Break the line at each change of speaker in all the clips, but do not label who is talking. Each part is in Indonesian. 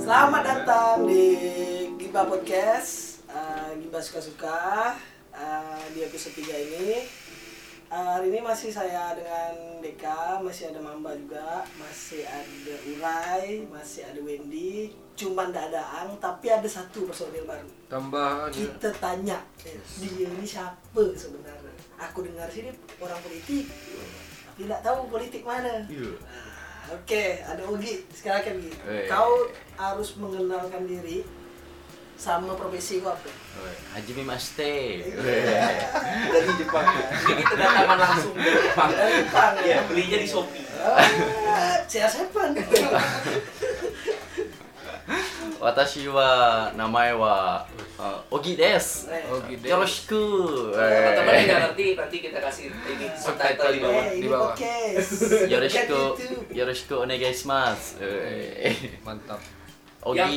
Selamat datang di Gimba Podcast Eh, Gimba Suka-Suka Eh, Di episode 3 ini Eh, Hari ini masih saya dengan Deka Masih ada Mamba juga Masih ada Urai Masih ada Wendy Cuman tidak ada Ang Tapi ada satu personil baru
tambahan ya.
Kita tanya Dia ini siapa sebenarnya Aku dengar sini orang politik Tapi tidak tahu politik mana
Iya.
Oke, ada Ugi. Sekarang Ugi.
Eh.
Kau harus mengenalkan diri sama profesi kau apa?
Haji Mimas Teh.
dari Jepang ya.
Ini kita dataman langsung dari Jepang.
Dari Jepang, ya?
Iya, belinya di Shopee.
Ah, siapa?
Watashi wa namae wa uh, Ogi desu.
Eh.
Ogi desu.
Yoroshiku.
Kalau
Eh.
teman yang nggak ngerti, nanti kita kasih ini subtitle di bawah. Ya,
Eh,
di
ini
bawah.
podcast.
Yoroshiku.
Bukan YouTube.
Yoroshiku onegai shimasu. Eh.
Mantap.
Yang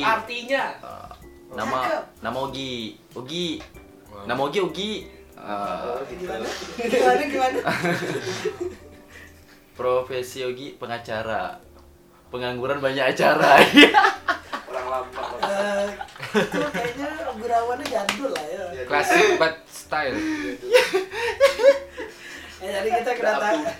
Ogi.
artinya
Uh, nama nama Ogi. Ogi. Nama Ogi Ogi. Uh,
Gimana? Gimana? Gimana?
profesi Ogi pengacara. Pengangguran banyak acara.
orang lama.
Eh, Itu kayaknya gurawannya jadul lah ya.
Iya,
Klasik but style.
Eh, jadi kita kedatangan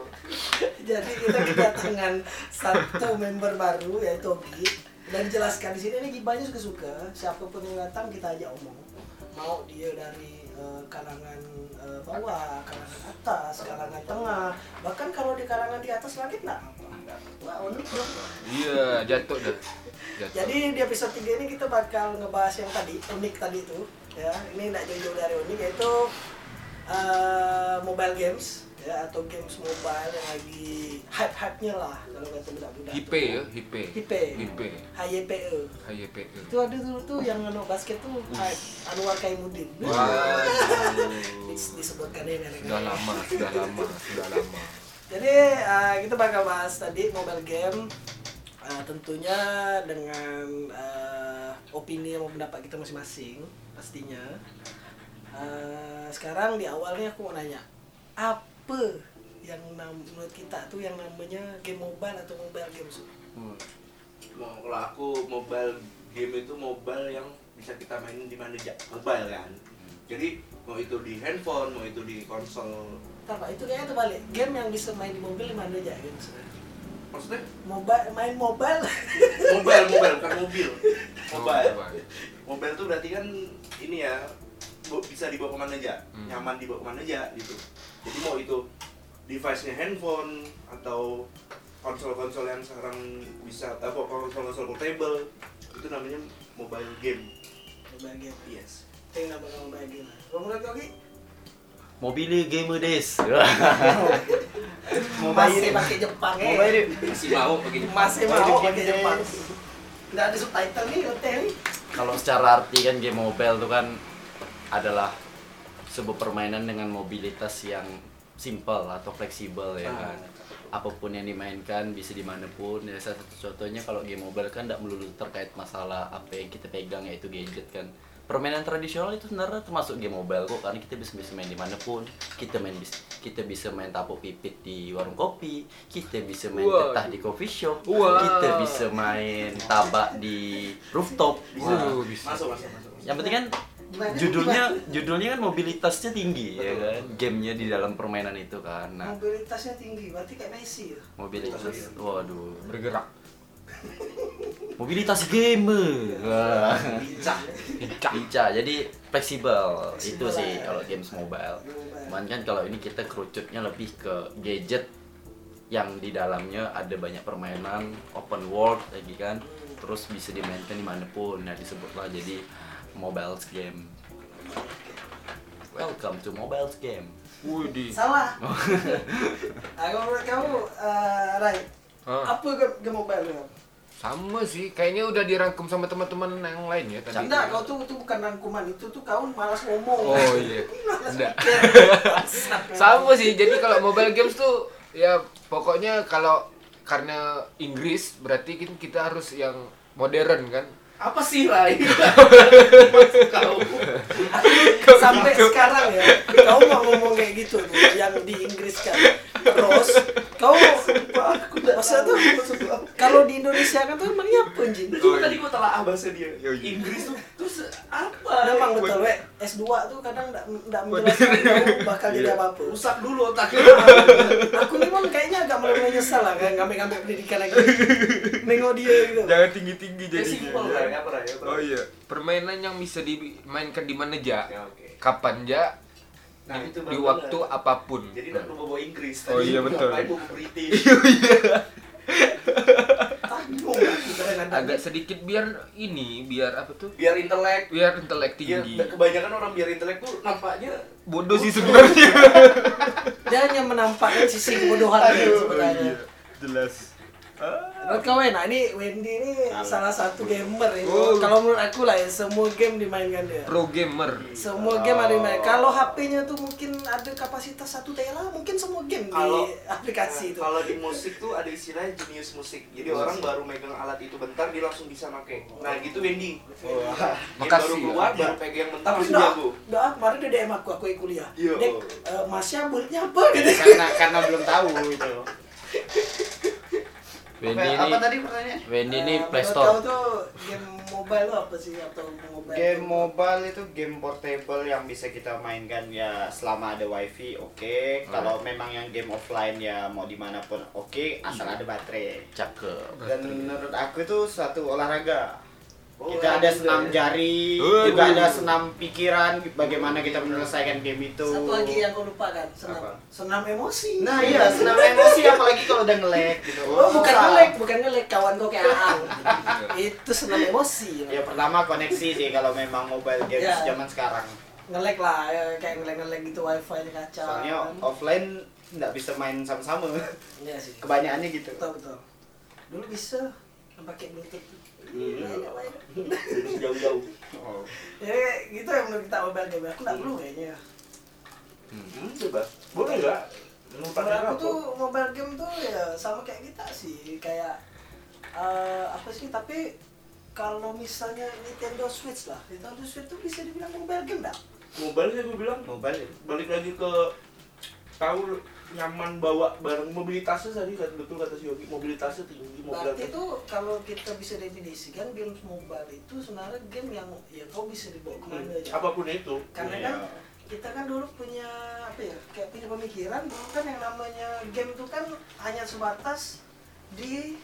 jadi kita kedatangan satu member baru yaitu Ogi dan jelaskan di sini ini gibahnya suka-suka siapapun yang datang kita ajak omong mau dia dari eh, kalangan eh, bawah kalangan atas kalangan tengah bahkan kalau di kalangan di atas langit nggak apa-apa. Wah, unik dong.
Iya, jatuh dah. Jatuh.
Jadi di episode 3 ini kita bakal ngebahas yang tadi, unik tadi itu ya. Ini tidak jauh-jauh dari unik yaitu eh, mobile games ya atau games mobile yang lagi hype-hype-nya lah kalau kata budak-budak.
hipe
tuh.
ya, hipe.
Hipe.
Hipe.
HYPE.
HYP.
Itu ada dulu tuh yang anu basket tuh hype Anwar Kaimuddin.
Waduh.
Dis- disebutkan ini merek.
Sudah lama, sudah lama, sudah lama.
Jadi eh, kita bakal bahas tadi mobile game eh, tentunya dengan eh, opini dan pendapat kita masing-masing pastinya. Eh, sekarang di awalnya aku mau nanya apa yang nam- menurut kita tuh yang namanya game mobile atau mobile games?
Mau kalau aku mobile game itu mobile yang bisa kita mainin di mana aja mobile kan. Jadi mau itu di handphone, mau itu di konsol.
Ntar Pak, itu kayaknya terbalik. Game yang bisa main di mobil di mana aja gitu.
Maksudnya
Mobile main mobile
mobile, mobile bukan mobil. Mobile.
Coba.
Mobile tuh berarti kan ini ya bu- bisa dibawa kemana aja,
Hmm.
nyaman dibawa kemana aja gitu. Jadi mau itu device-nya handphone atau konsol-konsol yang sekarang bisa eh, apa konsol-konsol portable itu namanya mobile game.
mobile game.
Yes.
Tinggal bakal mobile game. Kalau menurut kau Ki?
Mobile gamer desu.
masih pakai Jepang ya.
Masih mau begini.
Masih mau pakai Jepang. Nggak ada subtitle nih, hotel nih.
Kalau secara arti kan game mobile itu kan adalah sebuah permainan dengan mobilitas yang simple atau fleksibel ya kan. Apapun yang dimainkan bisa dimanapun. Ya salah satu contohnya kalau game mobile kan tidak melulu terkait masalah apa yang kita pegang yaitu gadget kan. Permainan tradisional itu sebenarnya termasuk game mobile kok karena kita bisa bisa main dimanapun. Kita main bis- kita bisa main tapuk pipit di warung kopi, kita bisa main
Waduh.
getah di coffee shop,
Wah.
kita bisa main tabak di rooftop.
Iya.
Wah.
Waduh, bisa.
Masuk, masuk, masuk. masuk.
Yang penting kan
Gimana?
judulnya
Gimana?
judulnya kan mobilitasnya tinggi ya kan. Gamenya di dalam permainan itu kan. Nah,
mobilitasnya tinggi, berarti kayak Messi ya.
mobilitas
Mobil.
waduh.
Bergerak.
Mobilitas gamer. Wah.
Lincah.
Lincah, jadi fleksibel.
Fleksibel
Itu sih
lah. ya.
kalau games mobile.
Mobile.
Cuman kan kalau ini kita kerucutnya lebih ke gadget yang di dalamnya ada banyak permainan open world lagi kan. Terus bisa dimainkan dimanapun. Nah, disebutlah jadi mobile game. Welcome to mobile game.
Wudi.
Salah. Ah, Kalau menurut kamu, eh, Rai,
Ah,
apa game, game mobile lu?
sama sih, kayaknya udah dirangkum sama teman-teman yang lain ya tadi.
Enggak, kau tuh itu bukan rangkuman, itu tuh kau malas ngomong.
Oh iya.
Malas
Enggak.
mikir. Bangsat, memang.
sama sih jadi kalau mobile games tuh ya pokoknya kalau karena Inggris berarti kan kita harus yang modern kan
Apa sih Rai? Kau
sampai sekarang ya kau mau ngomong kayak gitu tuh yang di Inggris kan terus kau
aku nggak
Maksudnya tuh,
maksud apa?
kalau di Indonesia kan tuh emangnya apa anjing
Itu tadi gua telah abang
bahasa dia
Iya,
Inggris tuh terus apa?
memang Nah, betul we S2 tuh kadang nggak nggak menjelaskan kau bakal jadi apa apa
rusak dulu otaknya.
aku nih Mam, kayaknya agak mulai menyesal lah kayak ngambil-ngambil pendidikan lagi nengok dia gitu
Jangan tinggi-tinggi
Jadi simpel
ya.
Rai, apa Rai? Apa, Rai?
Oh iya, permainan yang bisa dimainkan di mana ja?
Ya, oke.
Kapan ja?
Nah,
di,
itu
di
baru
waktu
bener.
apapun.
jadi nggak perlu bawa Inggris
Oh iya, betul.
ngapain bawa British
Tanggung aku kadang-kadang.
Agak sedikit biar ini, biar apa tuh?
biar intelek
Biar intelek
ya,
tinggi.
kebanyakan orang biar
biar intelek tuh nampaknya
Bodoh sih sebenarnya.
dan yang menampakkan sisi kebodohan dia sebenarnya
Jelas.
Menurut kau Wen, nah ini Wendy ini salah satu gamer itu.
Oh.
Kalau menurut aku lah ya, semua game dimainkan dia.
Pro gamer.
Semua game ada yang main. Kalau HP-nya tuh mungkin ada kapasitas satu tela, mungkin semua game
Kalau-
di aplikasi itu.
Nah, Kalau di musik tuh ada istilahnya jenius musik. Jadi orang baru megang alat itu bentar dia langsung bisa make. Nah, gitu Wendy. Dia
Makasih,
Baru keluar
ya.
baru pegang bentar
Tapi
langsung
enggak,
jago.
enggak, kemarin dia DM aku, aku yang kuliah.
Iya.
Dek, eh, masnya muridnya apa? Gitu.
karena karena belum tahu gitu. itu
Wendy
apa,
ini
apa tadi pertanyaannya
Wendy
Eh,
ini
menurut Kau
playstore.
tuh game mobile lo apa sih atau mobile?
game mobile itu game portable yang bisa kita mainkan ya selama ada wifi oke kalau memang yang game offline ya mau dimanapun oke asal ada baterai
Cakep.
dan menurut aku itu suatu olahraga
Oh,
kita ada
iya.
senam
ya.
jari
Waduh.
juga ada senam pikiran bagaimana kita menyelesaikan game itu
Satu lagi yang kau lupakan, senam.
Apa?
Senam emosi.
nah iya senam emosi apalagi kalau udah nge-lag gitu
Oh, bukan
Susah.
ngelek, bukan ngelek kawan kau kayak Aang. itu senam emosi.
ya pertama koneksi sih kalau memang mobile
Ya.
games zaman sekarang
Ngelek lah, ya, kayak ngelek-ngelek gitu wifi-nya kacau.
soalnya oh, offline nggak bisa main sama-sama
Iya sih.
kebanyakannya gitu
Betul betul. Dulu bisa yang pakai bluetooth. Iya, iya, iya.
Hmm, Jauh-jauh.
oh.
Ya gitu yang menurut kita mobile game. Aku nggak perlu kayaknya.
Hmm, coba. Boleh enggak? Menumpang
Menurut aku
apa?
tuh mobile game tuh ya sama kayak kita sih, kayak eh, apa sih? Tapi kalau misalnya Nintendo Switch lah, Nintendo Switch tuh bisa dibilang mobile game nggak?
mobile sih gue
Oh,
bilang
mobile
balik lagi ke tahu nyaman bawa barang mobilitasnya tadi kan betul kata si Yogi mobilitasnya
Berarti
tinggi mobilitasnya
itu kalau kita bisa definisikan games mobile itu sebenarnya game yang ya kau bisa dibawa kemana aja.
Hmm, apapun itu
Karena
Iya.
kan kita kan dulu punya apa ya kayak punya pemikiran dulu kan yang namanya game itu kan hanya sebatas di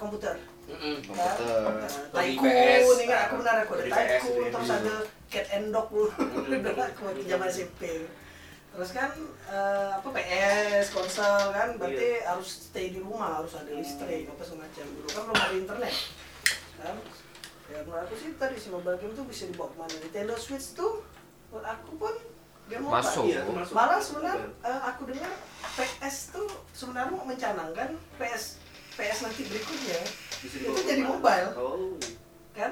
komputer. Kan?
Komputer.
Nah,
Atau di
Tycoon,
PS.
ingat aku benar aku ada
Di PS,
Tycoon,
iya.
terus ada Cat and Dog dulu, dulu aku waktu zaman SMP. Terus kan eh, apa PS, konsol kan berarti harus stay di rumah, harus ada listrik apa semacam dulu kan belum ada internet. Kan? Ya menurut aku sih tadi si mobile game tuh bisa dibawa kemana Nintendo Switch tuh menurut aku pun game mobile.
Masuk.
Iya, termasuk.
Malah sebenarnya eh, aku dengar PS tuh sebenarnya mau mencanangkan PS PS nanti berikutnya
Bisa dibawa
itu jadi
kemana.
mobile
oh
kan?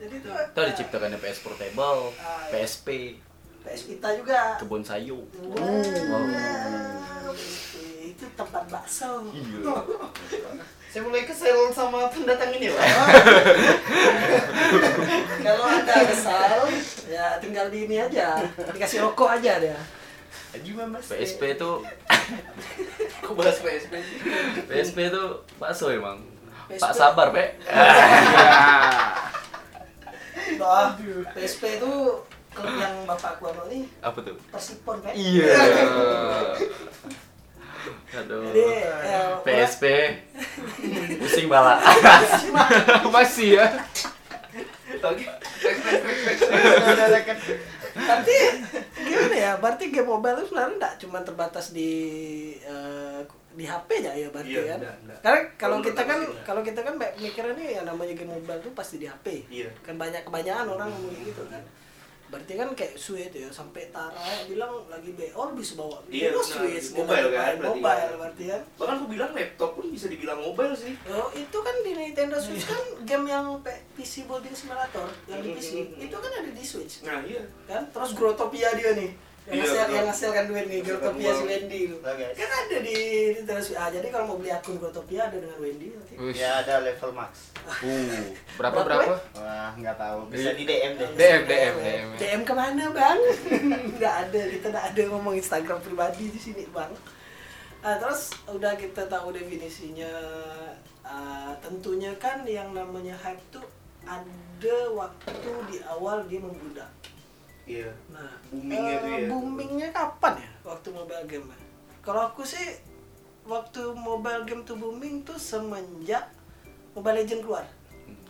Jadi itu eh,
Itu diciptakan PS Portable, PSP,
PS Vita juga.
kebun sayur.
Wow. Itu tempat bakso.
saya mulai kesel sama pendatang ini lah
Kalau ada kesal, ya tinggal di ini aja. Dikasih rokok aja dia.
PSP itu
aku bahas PSP sih.
PSP itu bakso emang.
PSP.
Pak sabar, Pak.
Doa. PSP itu klub yang bapak aku ambil nih
Apa tuh?
Persipon kan?
Iya.
Aduh.
Jadi eh,
PSP pusing bala.
Masih ya.
Tapi
kan?
Berarti gimana ya? Berarti game mobile itu sebenarnya nggak cuma terbatas di eh, di HP aja ya berarti
Iya,
kan?
nggak, nggak.
Karena kalau
Kalau
kita kan
menurut aku sih,
kalau kita kan me- mikirnya nih yang namanya game mobile tuh pasti di HP.
Iya.
Kan banyak kebanyakan orang ngomong kayak gitu kan. Berarti kan kayak Sui itu ya sampai Tara yang bilang lagi BO bisa bawa
Iya,
Nintendo
benar.
Switch, kenapa
Mobile kan,
main
berarti
mobile
kan.
berarti kan.
bahkan aku bilang laptop pun bisa dibilang mobile sih
Oh, itu kan di Nintendo Switch kan
Iya.
game yang P- PC Building Simulator yang di PC itu kan ada di Switch
nah iya
kan terus Grotopia dia nih yang
Iya,
hasil
betul.
yang hasilkan duit nih Grotopia si
Betul.
Wendy itu.
Betul, Nah, guys.
Kan ada di, di terus ah, jadi kalau mau beli akun Grotopia ada dengan Wendy nanti.
Wih,
Ya ada level max.
Uh,
berapa
Berapa,
berapa?
Wah, nggak tahu. Bisa di DM deh.
DM, DM, DM.
DM kemana bang? Nggak ada, kita nggak ada ngomong Instagram pribadi di sini bang. Nah, terus udah kita tahu definisinya, ah, tentunya kan yang namanya hype tuh ada waktu di awal dia membludak.
Iya.
Nah,
Boomingnya
eh,
tuh ya.
Boomingnya kapan ya? Waktu mobile game. Bang? Kalau aku sih waktu mobile game tuh booming tuh semenjak Mobile Legend keluar.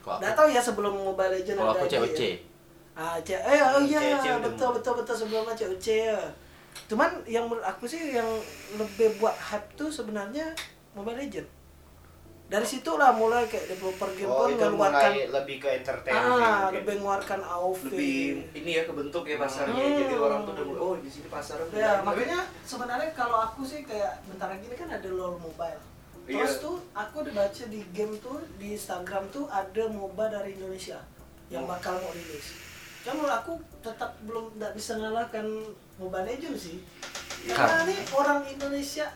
kok
Nggak
aku,
tahu ya sebelum Mobile Legend
kalau aku
ada ini
COC.
ya. Ah, C eh oh iya
COC udah
betul
mulai.
betul betul sebelumnya COC ya. Cuman yang menurut aku sih yang lebih buat hype tuh sebenarnya Mobile Legend. Dari situlah mulai kayak developer game
Oh,
pun
itu
mengeluarkan
mulai lebih ke
ah
entertainment. mungkin.
lebih mengeluarkan AOV.
Lebih
ini ya kebentuk ya pasarnya
Hmm.
jadi orang tuh udah mulai, oh di sini pasarnya
Ya,
Tapi-
makanya sebenarnya kalau aku sih kayak bentar lagi ini kan ada LoL Mobile. Terus
Iya.
tuh aku udah baca di game tuh di Instagram tuh ada MOBA dari Indonesia yang
Oh.
bakal mau rilis. Cuma menurut aku tetap belum nggak bisa ngalahkan Mobile Legends sih. Karena
Kar-
Iya.
ini orang Indonesia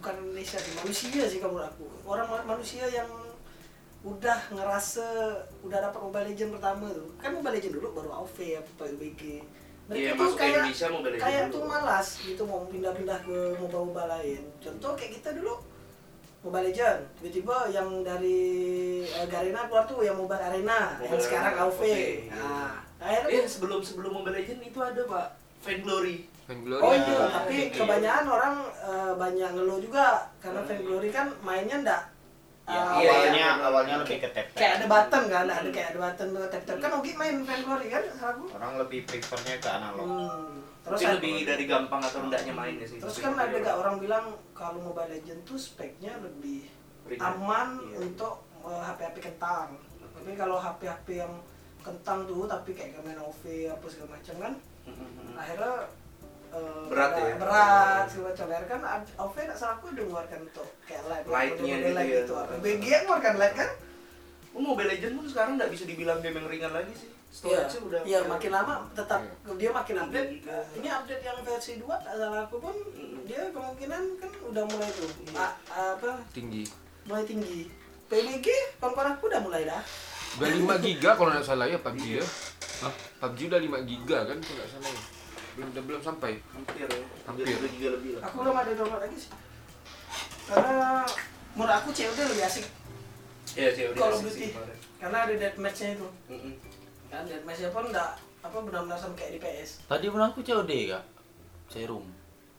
bukan Indonesia sih manusia sih kalau menurut aku orang ma- manusia yang udah ngerasa udah dapat Mobile Legends pertama tuh kan Mobile Legends dulu baru AoV apa PUBG mereka
Iya,
tuh
masuk ke
kayak
Indonesia Mobile Legends
kayak
dulu.
tuh malas gitu mau pindah-pindah ke MOBA-MOBA lain contoh kayak kita dulu Mobile Legends tiba-tiba yang dari eh, Garena keluar tuh yang Mobile Arena yang
Mobile
sekarang
Arena,
AoV
AoV, iya.
nah akhirnya
Eh sebelum sebelum Mobile Legend itu ada pak Vainglory.
Fan Glory.
Oh
Iya.
iya, tapi
Iya.
kebanyakan orang eh, banyak ngeluh juga karena fan glory kan mainnya ndak
Ya,
eh,
iya,
awalnya
iya.
awalnya lebih ke tap
kayak ada button kan, ada kayak ada button tuh tap tap kan Ogi main fan glory kan aku.
Orang lebih prefernya ke analog.
Hmm. Terus
Mungkin
ada-
lebih dari gampang atau enggaknya mainnya ya, sih.
terus
Tapi
kan ada
dari
gak orang bilang kalau Mobile Legend tuh speknya lebih
Ringan.
aman
Iya.
untuk eh, HP-HP kentang. Tapi kalau HP-HP yang kentang tuh tapi kayak main OV apa segala macam kan
Mm-mm.
akhirnya eh,
Hmm. Berat ya?
berat segala macam akhirnya kan OV nggak salah aku udah ngeluarkan tuh kayak light
Light-nya
model-model
gitu
light
ya.
gitu BG yang ngeluarkan light kan
Oh, Mobile Legends pun sekarang nggak bisa dibilang game yang ringan lagi sih.
iya
Storage-nya udah
iya makin lama tetap dia makin
Iya.
update Iya. ini update yang versi 2 nggak salah aku pun
Hmm.
dia kemungkinan kan udah mulai tuh a- apa
Tinggi.
mulai tinggi PBG kawan-kawan aku udah mulai dah
Udah 5 giga kalau nggak salah ya PUBG ya. Hah? PUBG udah 5 giga kan kalau nggak salah. ya. Belum udah belum sampai.
hampir ya.
Hampir.
Hampir 2 giga lebih lah.
aku belum ada download lagi sih karena menurut aku COD lebih asik
Iya, sih udah
Call of
asik sih
Duty
kemarin.
karena ada deathmatch-nya itu
Mm-mm.
kan deathmatch-nya pun nggak apa benar-benar sama kayak di PS
Tadi pun aku COD kak, serum.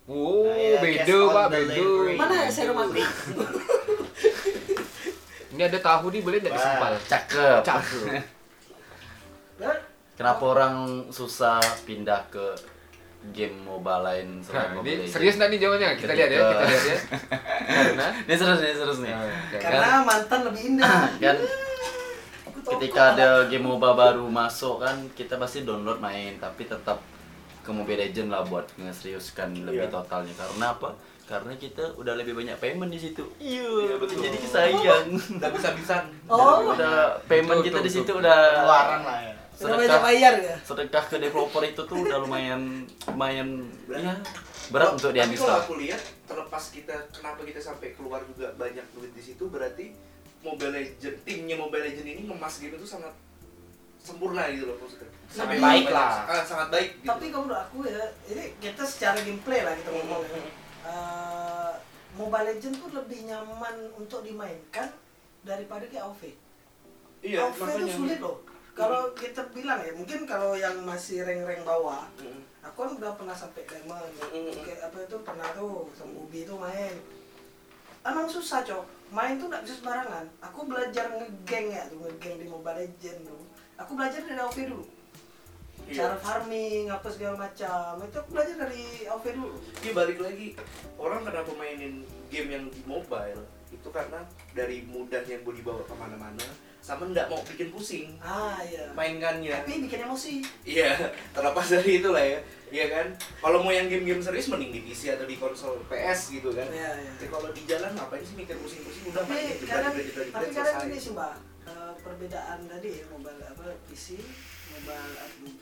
Oh,
Nah, ya,
beda
cash on
pak, beda.
delivery.
Mana ya
Hmm.
serum aku?
Ini ada tahu nih boleh nggak
Wah.
disempal?
Cakep.
Cakep.
Hah?
Kenapa orang susah pindah ke game mobile lain selain
Nah,
Mobile
ini
Legends?
serius nggak nih kan? jawabannya? Kita lihat ya, kita lihat ya. Karena
Ini serius nih, serius nih.
Oh, iya.
Karena mantan lebih indah.
Kan
Aku tahu
ketika
kok.
ada game MOBA baru masuk kan kita pasti download main tapi tetap ke Mobile Legend lah buat ngeseriuskan lebih
Iya.
totalnya karena apa? Karena kita udah lebih banyak payment di situ.
Iya,
Iya,
betul.
jadi sayang.
Nggak bisa-bisan.
Oh,
udah payment
Betul,
kita
betul,
di situ
betul.
udah
Pengeluaran lah ya.
udah banyak bayar ya?
sedekah ke developer itu tuh udah lumayan lumayan ya berat untuk
Tapi Kalau
dihandle.
aku lihat terlepas kita kenapa kita sampai keluar juga banyak duit di situ berarti Mobile Legend timnya Mobile Legend ini ngemas game itu sangat sempurna gitu loh maksudnya.
Tapi-
baik lah.
Ah, sangat baik gitu.
Tapi kalau menurut aku ya, ini kita secara gameplay lah kita ngomong. ya. Eh, Mobile Legends tuh lebih nyaman untuk dimainkan daripada di AoV.
iya,
AoV itu sulit loh. Kalau kita bilang ya, mungkin kalau yang masih rank-rank bawah,
Mm-mm.
aku kan udah pernah sampai diamond
Mm-mm.
kayak apa itu pernah tuh sama Ubi itu main emang susah cok main tuh nggak bisa sembarangan aku belajar ngegeng ya tuh ngegeng di Mobile Legends tuh aku belajar dari AoV dulu
Iya.
cara farming apa segala macam itu aku belajar dari AoV dulu
Iya balik lagi orang kenapa mainin game yang di mobile itu karena dari mudah yang boleh dibawa kemana-mana sama ndak mau bikin pusing
ah iya
mainkannya.
tapi bikin emosi
Iya, terlepas dari itu lah ya. Iya kan? Kalau mau yang game-game serius mending di PC atau di konsol PS gitu kan.
Iya, iya.
Tapi kalau di jalan ngapain sih mikir pusing-pusing udah main
tapi
gitu
kadang
jebret, jebret,
tapi
jebret,
kadang
selesai.
ini sih mbak eh, perbedaan tadi ya eh, mobile apa PC mobile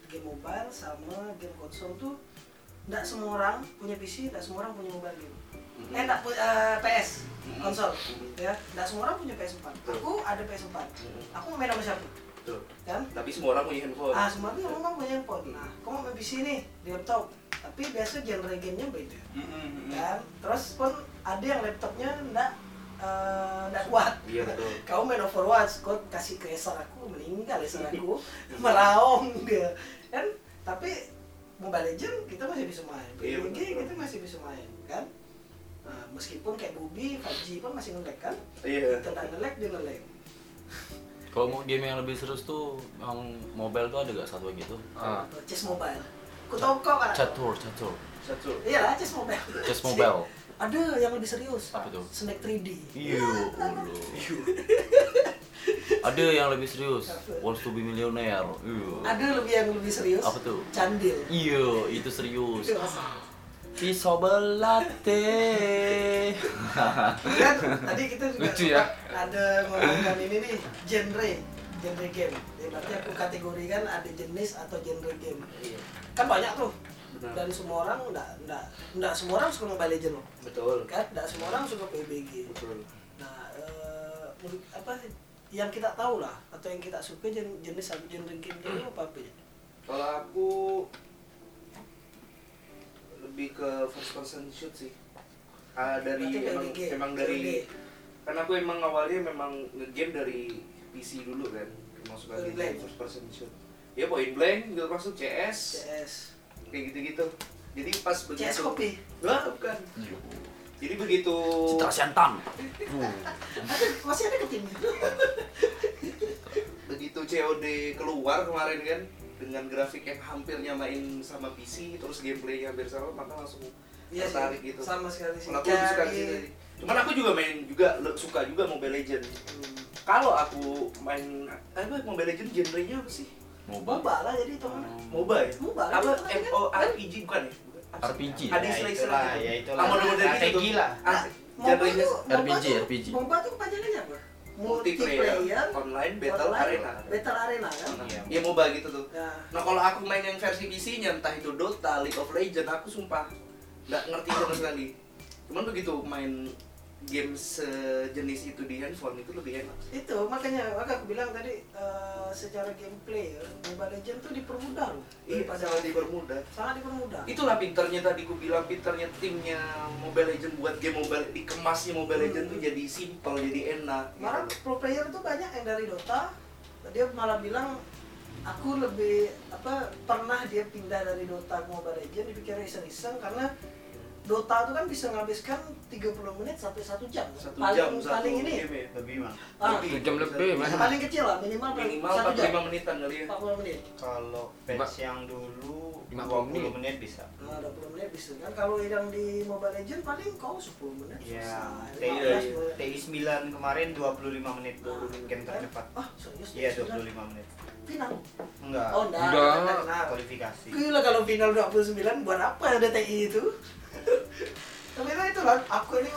game mobile sama game konsol tuh tidak semua orang punya PC, tidak semua orang punya mobile game. Eh, tak pu- eh, PS, konsol, ya. Tidak semua orang punya PS4. Aku ada PS4. Aku mau main sama siapa?
Betul.
Kan?
Tapi semua orang punya handphone.
Ah, semua tuh orang punya handphone. Nah, kamu mau main PC nih di laptop. Tapi biasa genre gamenya beda.
Mm-hmm.
Kan? Terus pun ada yang laptopnya tidak tidak kuat.
Iya betul.
Kau main Overwatch, kau kasih ke Eser aku, meninggal Eser aku, meraung dia. Kan, tapi Mobile Legends kita masih bisa main,
Iya,
PUBG
betul.
kita masih bisa main, kan? Nah, meskipun kayak Bubi, 5G pun masih nge-lag kan?
Iya.
Kita nggak nge-lag, dia nge-lag.
Kalau mau game yang lebih serius tuh, yang mobile tuh ada gak satu gitu?
Ah.
Nah, Chess Mobile. Ku tahu kau kan?
Catur, catur,
Satu.
Iya lah, Chess Mobile.
chess mobile.
Ada yang lebih serius.
Apa tuh?
Snake 3D.
Iya, Allah. Ada yang lebih serius, wants to be millionaire. Iya.
Ada lebih yang lebih serius.
Apa tuh?
Candil.
Iya, itu
Itu
serius.
asal.
Pisau belate.
kan tadi kita juga
Lucu ya.
ada ngomongkan ini nih genre genre game ya, berarti aku kategorikan ada jenis atau genre game
Iya. Nah.
kan banyak tuh
Benar.
dan semua orang nggak nggak nggak semua orang suka Mobile Legends loh
Betul.
kan nggak semua orang suka PUBG
Betul.
nah eh, menurut- apa yang kita tahu lah atau yang kita suka jen- jenis satu genre game itu
Hmm.
apa apa ya?
Kalau aku lebih ke first person shoot sih. Ah, dari
Berarti
emang,
PUBG.
emang dari karena aku emang awalnya memang nge-game dari PC dulu kan. Emang suka
Point
nge-game
blank.
first person shoot. Ya point blank, gitu masuk CS,
CS
kayak gitu-gitu. Jadi pas begitu.
CS kopi
Wah, bukan. Jadi begitu
Citra Siantan.
ada masih ada ketimnya
gitu. begitu COD keluar kemarin kan dengan grafik yang hampir nyamain sama PC terus gameplay hampir sama maka langsung
Iya sih,
tertarik gitu
sama sekali sih
Kalau aku lebih suka
Dari-
di situ sih. cuman aku juga main juga le- suka juga Mobile Legend
Hmm.
kalau aku main eh, apa Mobile Legend genrenya apa sih
Mobile.
MOBA lah jadi itu kan.
MOBA ya
MOBA,
apa
itu kan,
MORPG bukan ya Apa sih?
RPG.
ada
Ya,
istilah-istilah
itulah,
gitu.
ya, itulah.
Ah, model-model gitu
Strategi
tuh.
lah.
Ah,
MOBA
genrenya
tuh MOBA
RPG,
tuh-
RPG.
MOBA tuh kepanjangannya apa?
multiplayer online battle
online,
arena
Battle arena kan.
Nah, ya MOBA gitu tuh
Nah,
Nah kalau aku main yang versi PC-nya entah itu Dota, League of Legends, aku sumpah nggak ngerti sama sekali. Cuman begitu main game sejenis itu di handphone itu lebih enak.
itu makanya maka aku bilang tadi eh, secara gameplay ya, MOBA Legend tuh dipermudah loh.
Iya,
Daripada-
sangat dipermudah.
sangat dipermudah.
Itulah pinternya tadi ku bilang pinternya timnya Mobile Legends buat game Mobile dikemasnya Mobile Legends tuh jadi simple, jadi enak. gitu.
Hmm. Malah pro player tuh banyak yang dari Dota. Dia malah bilang aku lebih apa pernah dia pindah dari Dota ke Mobile Legends dipikir iseng-iseng karena Dota tuh kan bisa menghabiskan 30 menit sampai 1 jam.
Satu
paling
jam satu
paling ini.
game ya.
lebih mah
Ah,
Satu jam lebih, Mas.
paling kecil lah minimal paling
Minimal
1 jam.
45 menitan kali ya.
40 menit.
kalau
Ma-
patch yang dulu
50
20
menit.
menit bisa
Nah, 20 menit bisa kan kalau yang di Mobile Legends paling kau 10 menit.
ya
selesai.
iya,
TI
15 menit.
TI 9 kemarin 25 menit dulu game tercepat
Ah, serius?
iya
Sudah.
25 menit
Final.
enggak
Oh, enggak.
Udah.
enggak, enggak.
kualifikasi
Gila kalau final 29 buat apa ada TI itu? Tapi kan itu lah, aku ini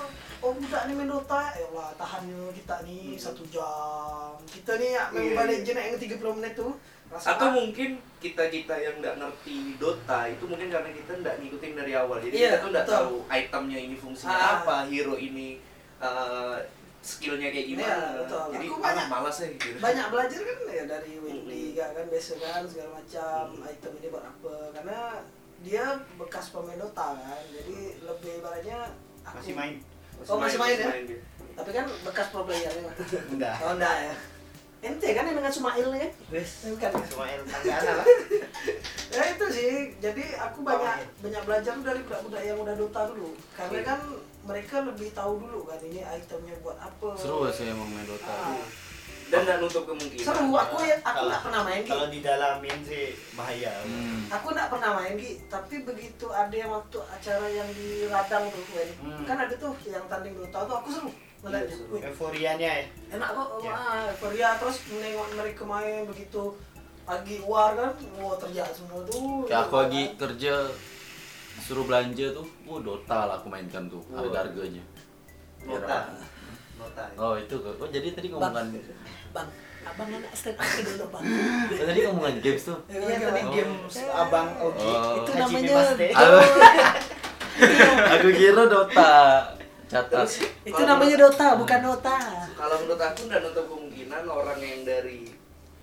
oh budak nih main Dota, ya Allah tahan nih kita nih satu jam. Kita nih ya main
Iya,
Mobile
iya.
Legends yang 30 menit tuh. Rasa
Atau
ah,
mungkin kita kita yang nggak ngerti Dota itu mungkin karena kita nggak ngikutin dari awal, jadi
Iya,
kita tuh nggak
betul.
tahu itemnya ini fungsinya
Ah.
apa, hero ini uh, skillnya kayak gimana.
Iya, betul.
Jadi
Aku
ah,
banyak-
malas aja gitu.
banyak belajar kan ya dari Windy
Mm-mm.
kan, kan biasa kan segala macam
Mm.
item ini buat apa karena dia bekas pemain Dota kan jadi lebih ibaratnya aku-
masih main
Oh, masih main ya?
dia.
tapi kan bekas pro player kan
enggak
oh enggak ya ente kan yang dengan Sumail ya bukan ya?
cuma el tanggana lah
ya itu sih jadi aku
Oh, iya.
banyak banyak belajar dari budak-budak yang udah dota dulu karena
Iya.
kan mereka lebih tahu dulu kan ini itemnya buat apa
Seru ya, sih emang main Dota.
Ah,
Dan nggak nutup kemungkinan.
seru aku ya aku nggak pernah main Gi.
Iya. kalau didalamin sih bahaya
Hmm.
aku nggak pernah main Gi tapi begitu ada yang waktu acara yang di Radang tuh Wen.
Hmm.
kan ada tuh yang tanding dota tuh aku seru ngeliatnya
Iya, seru.
Wih,
euforianya ya
enak kok
Iya.
wah euforia terus menengok mereka main begitu pagi war kan wah terjak semua tuh
Kayak aku lagi kerja suruh belanja tuh, oh Dota lah aku mainkan tuh, ada harganya.
Dota. Nota. ya.
Oh itu kok. Oh jadi tadi ngomongan
Bang, abang anak stand up dulu bang.
oh, tadi ngomongan games tuh.
Ya,
Iya tadi
Bang.
games abang Oki
Oh.
Itu
Haji
namanya
Dimas Dek.
Aku, aku kira Dota catat.
itu namanya Dota, bukan Dota.
Kalau menurut aku nggak nutup kemungkinan orang yang dari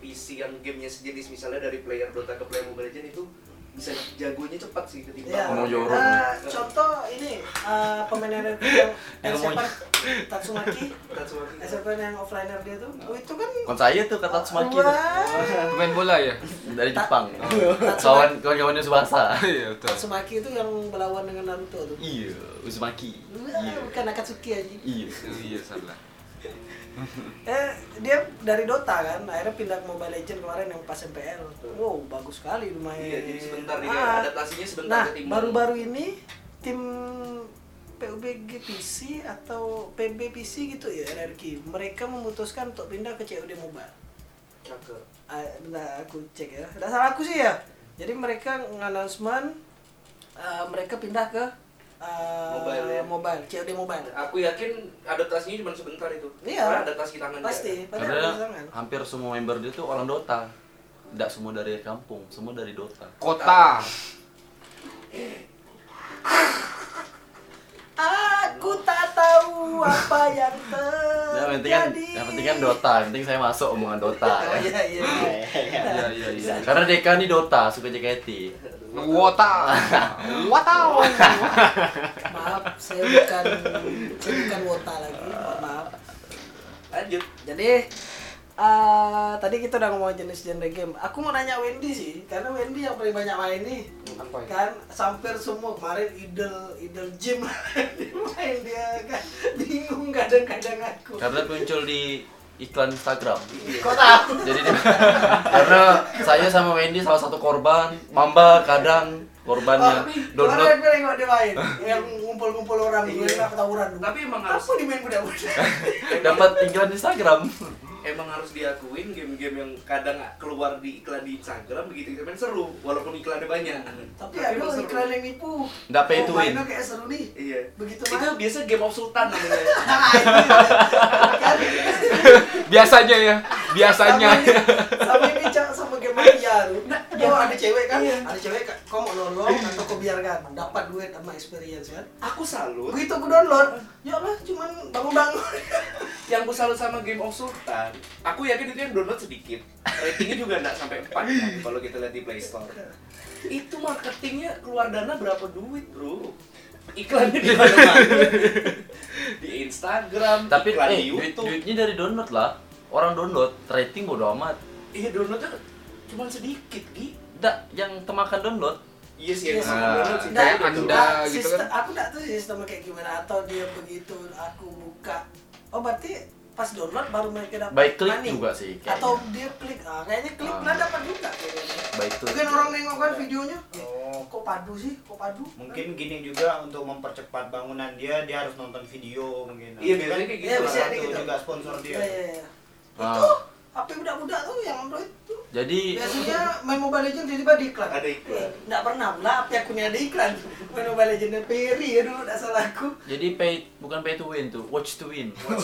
PC yang gamenya sejenis misalnya dari player Dota ke player Mobile Legends itu bisa jagonya cepat sih
Ya.
ketimbang
Mau
orang yang-
jorok.
Eh, contoh ini eh, pemain NRP yang yang
Yang
siapa
mau-
Tatsumaki,
Tatsumaki.
siapa yang offliner dia tuh? Oh itu kan
Kon saya tuh kata Tsumaki tuh.
Wah.
Pemain bola ya?
dari Jepang.
Tatsumaki-
Kawan kawan-kawannya Subasa.
Iya betul.
Tatsumaki itu yang berlawan dengan Naruto tuh.
Iya, Uzumaki.
Wah, Bukan Akatsuki aja.
Iya.
Iya salah.
Eh, dia dari Dota kan, akhirnya pindah ke Mobile Legends kemarin yang pas MPL. Wow, bagus sekali lumayan.
Iya, jadi sebentar dia
Ah.
adaptasinya sebentar
Nah,
ketimbang.
baru-baru ini tim PUBG PC atau PB PC gitu ya NRQ, mereka memutuskan untuk pindah ke COD Mobile.
Cakep.
Ah, bentar, aku cek ya. Tidak salah aku sih ya. Jadi mereka announcement eh, mereka pindah ke eh,
Mobile ya?
mobile, COD Mobile.
Aku yakin adaptasinya cuma sebentar itu.
Iya.
Karena adaptasi
ya.
tangan dia.
Pasti, pasti
Karena
ada pasangan.
hampir semua member dia tuh orang Dota. Tidak semua dari kampung, semua dari Dota.
Kota.
Aku tak tahu apa yang terjadi.
Nah, yang penting kan, yang penting kan Dota, yang penting saya masuk omongan Dota.
Oh,
ya.
iya, iya.
Iya, iya.
Iya iya iya.
Karena Deka nih Dota, suka JKT.
Wota. Wota.
Maaf, saya bukan saya bukan wota lagi. Mohon Maaf.
Lanjut.
Jadi eh, tadi kita udah ngomong jenis genre game. Aku mau nanya Wendy sih, karena Wendy yang paling banyak main nih.
Apa itu?
Kan hampir semua kemarin idol idol gym Dia main dia kan bingung kadang-kadang aku.
Karena muncul di iklan Instagram.
Kok tahu?
Jadi dia- karena saya sama Wendy salah satu korban, Mamba kadang
Oh,
korbannya
iya. Kemarin
download.
gue nengok dia main, yang ngumpul-ngumpul orang gue
Iya.
enak tawuran dulu.
Tapi emang harus
Apa dimain budak-budak?
dapat iklan Instagram.
emang harus diakuin game-game yang kadang keluar di iklan di Instagram begitu kita main seru walaupun iklannya banyak.
Tapi ada
emang seru.
iklan yang nipu.
Nggak pay
Oh,
to win.
mainnya kayak seru nih.
Iya.
Begitu
Itu
main.
biasa game of Sultan namanya.
Ah, itu dia. Kan?
Biasanya ya. Biasanya.
sama ini, sama ini cak sama game mafia lu nah, ada cewek kan ada cewek kan kau mau nolong atau kau biarkan dapat duit sama experience kan
aku salut.
begitu aku download ya lah cuman bangun bangun
Yang aku salut sama game of Sultan, aku yakin itu yang download sedikit. Ratingnya juga nggak sampai 4 kan, kalau kita lihat di Play Store. Itu marketingnya keluar dana berapa duit, Bro? Iklannya di mana-mana. di Instagram,
Tapi
iklan
eh,
di
duit,
YouTube.
duitnya dari download lah. Orang download, rating bodo amat.
Iya, downloadnya cuma sedikit, Gi.
Nggak, yang temakan download
Iya sih, yang
Iya.
sama download sih.
Kayak
Kayak gitu.
Anda
Nah,
gitu
sistem-
kan.
aku nggak tahu sistem kayak gimana atau dia begitu aku buka oh berarti pas download baru mereka dapat
By click
money.
juga sih, kayaknya.
atau dia klik ah, kayaknya klik
Ah.
lah dapat juga kayaknya
baik tuh.
mungkin orang nengok kan videonya eh,
Oh.
kok padu sih kok padu
Mungkin gini juga untuk mempercepat bangunan dia, dia harus nonton video mungkin.
Iya, biasanya kayak gitu.
Iya, bisa
Salah
ada
satu
gitu.
juga sponsor
Iya,
dia.
iya, iya.
Ah.
Ya, Itu HP budak-budak tuh yang Android tuh.
Jadi
Biasanya main Mobile Legends tiba-tiba ada iklan. Eh,
Ada iklan.
Nggak pernah pula HP akunnya ada iklan. Main Mobile Legends Peri ya dulu, nggak salah aku.
jadi pay bukan pay to win tuh, watch to win.
Oh,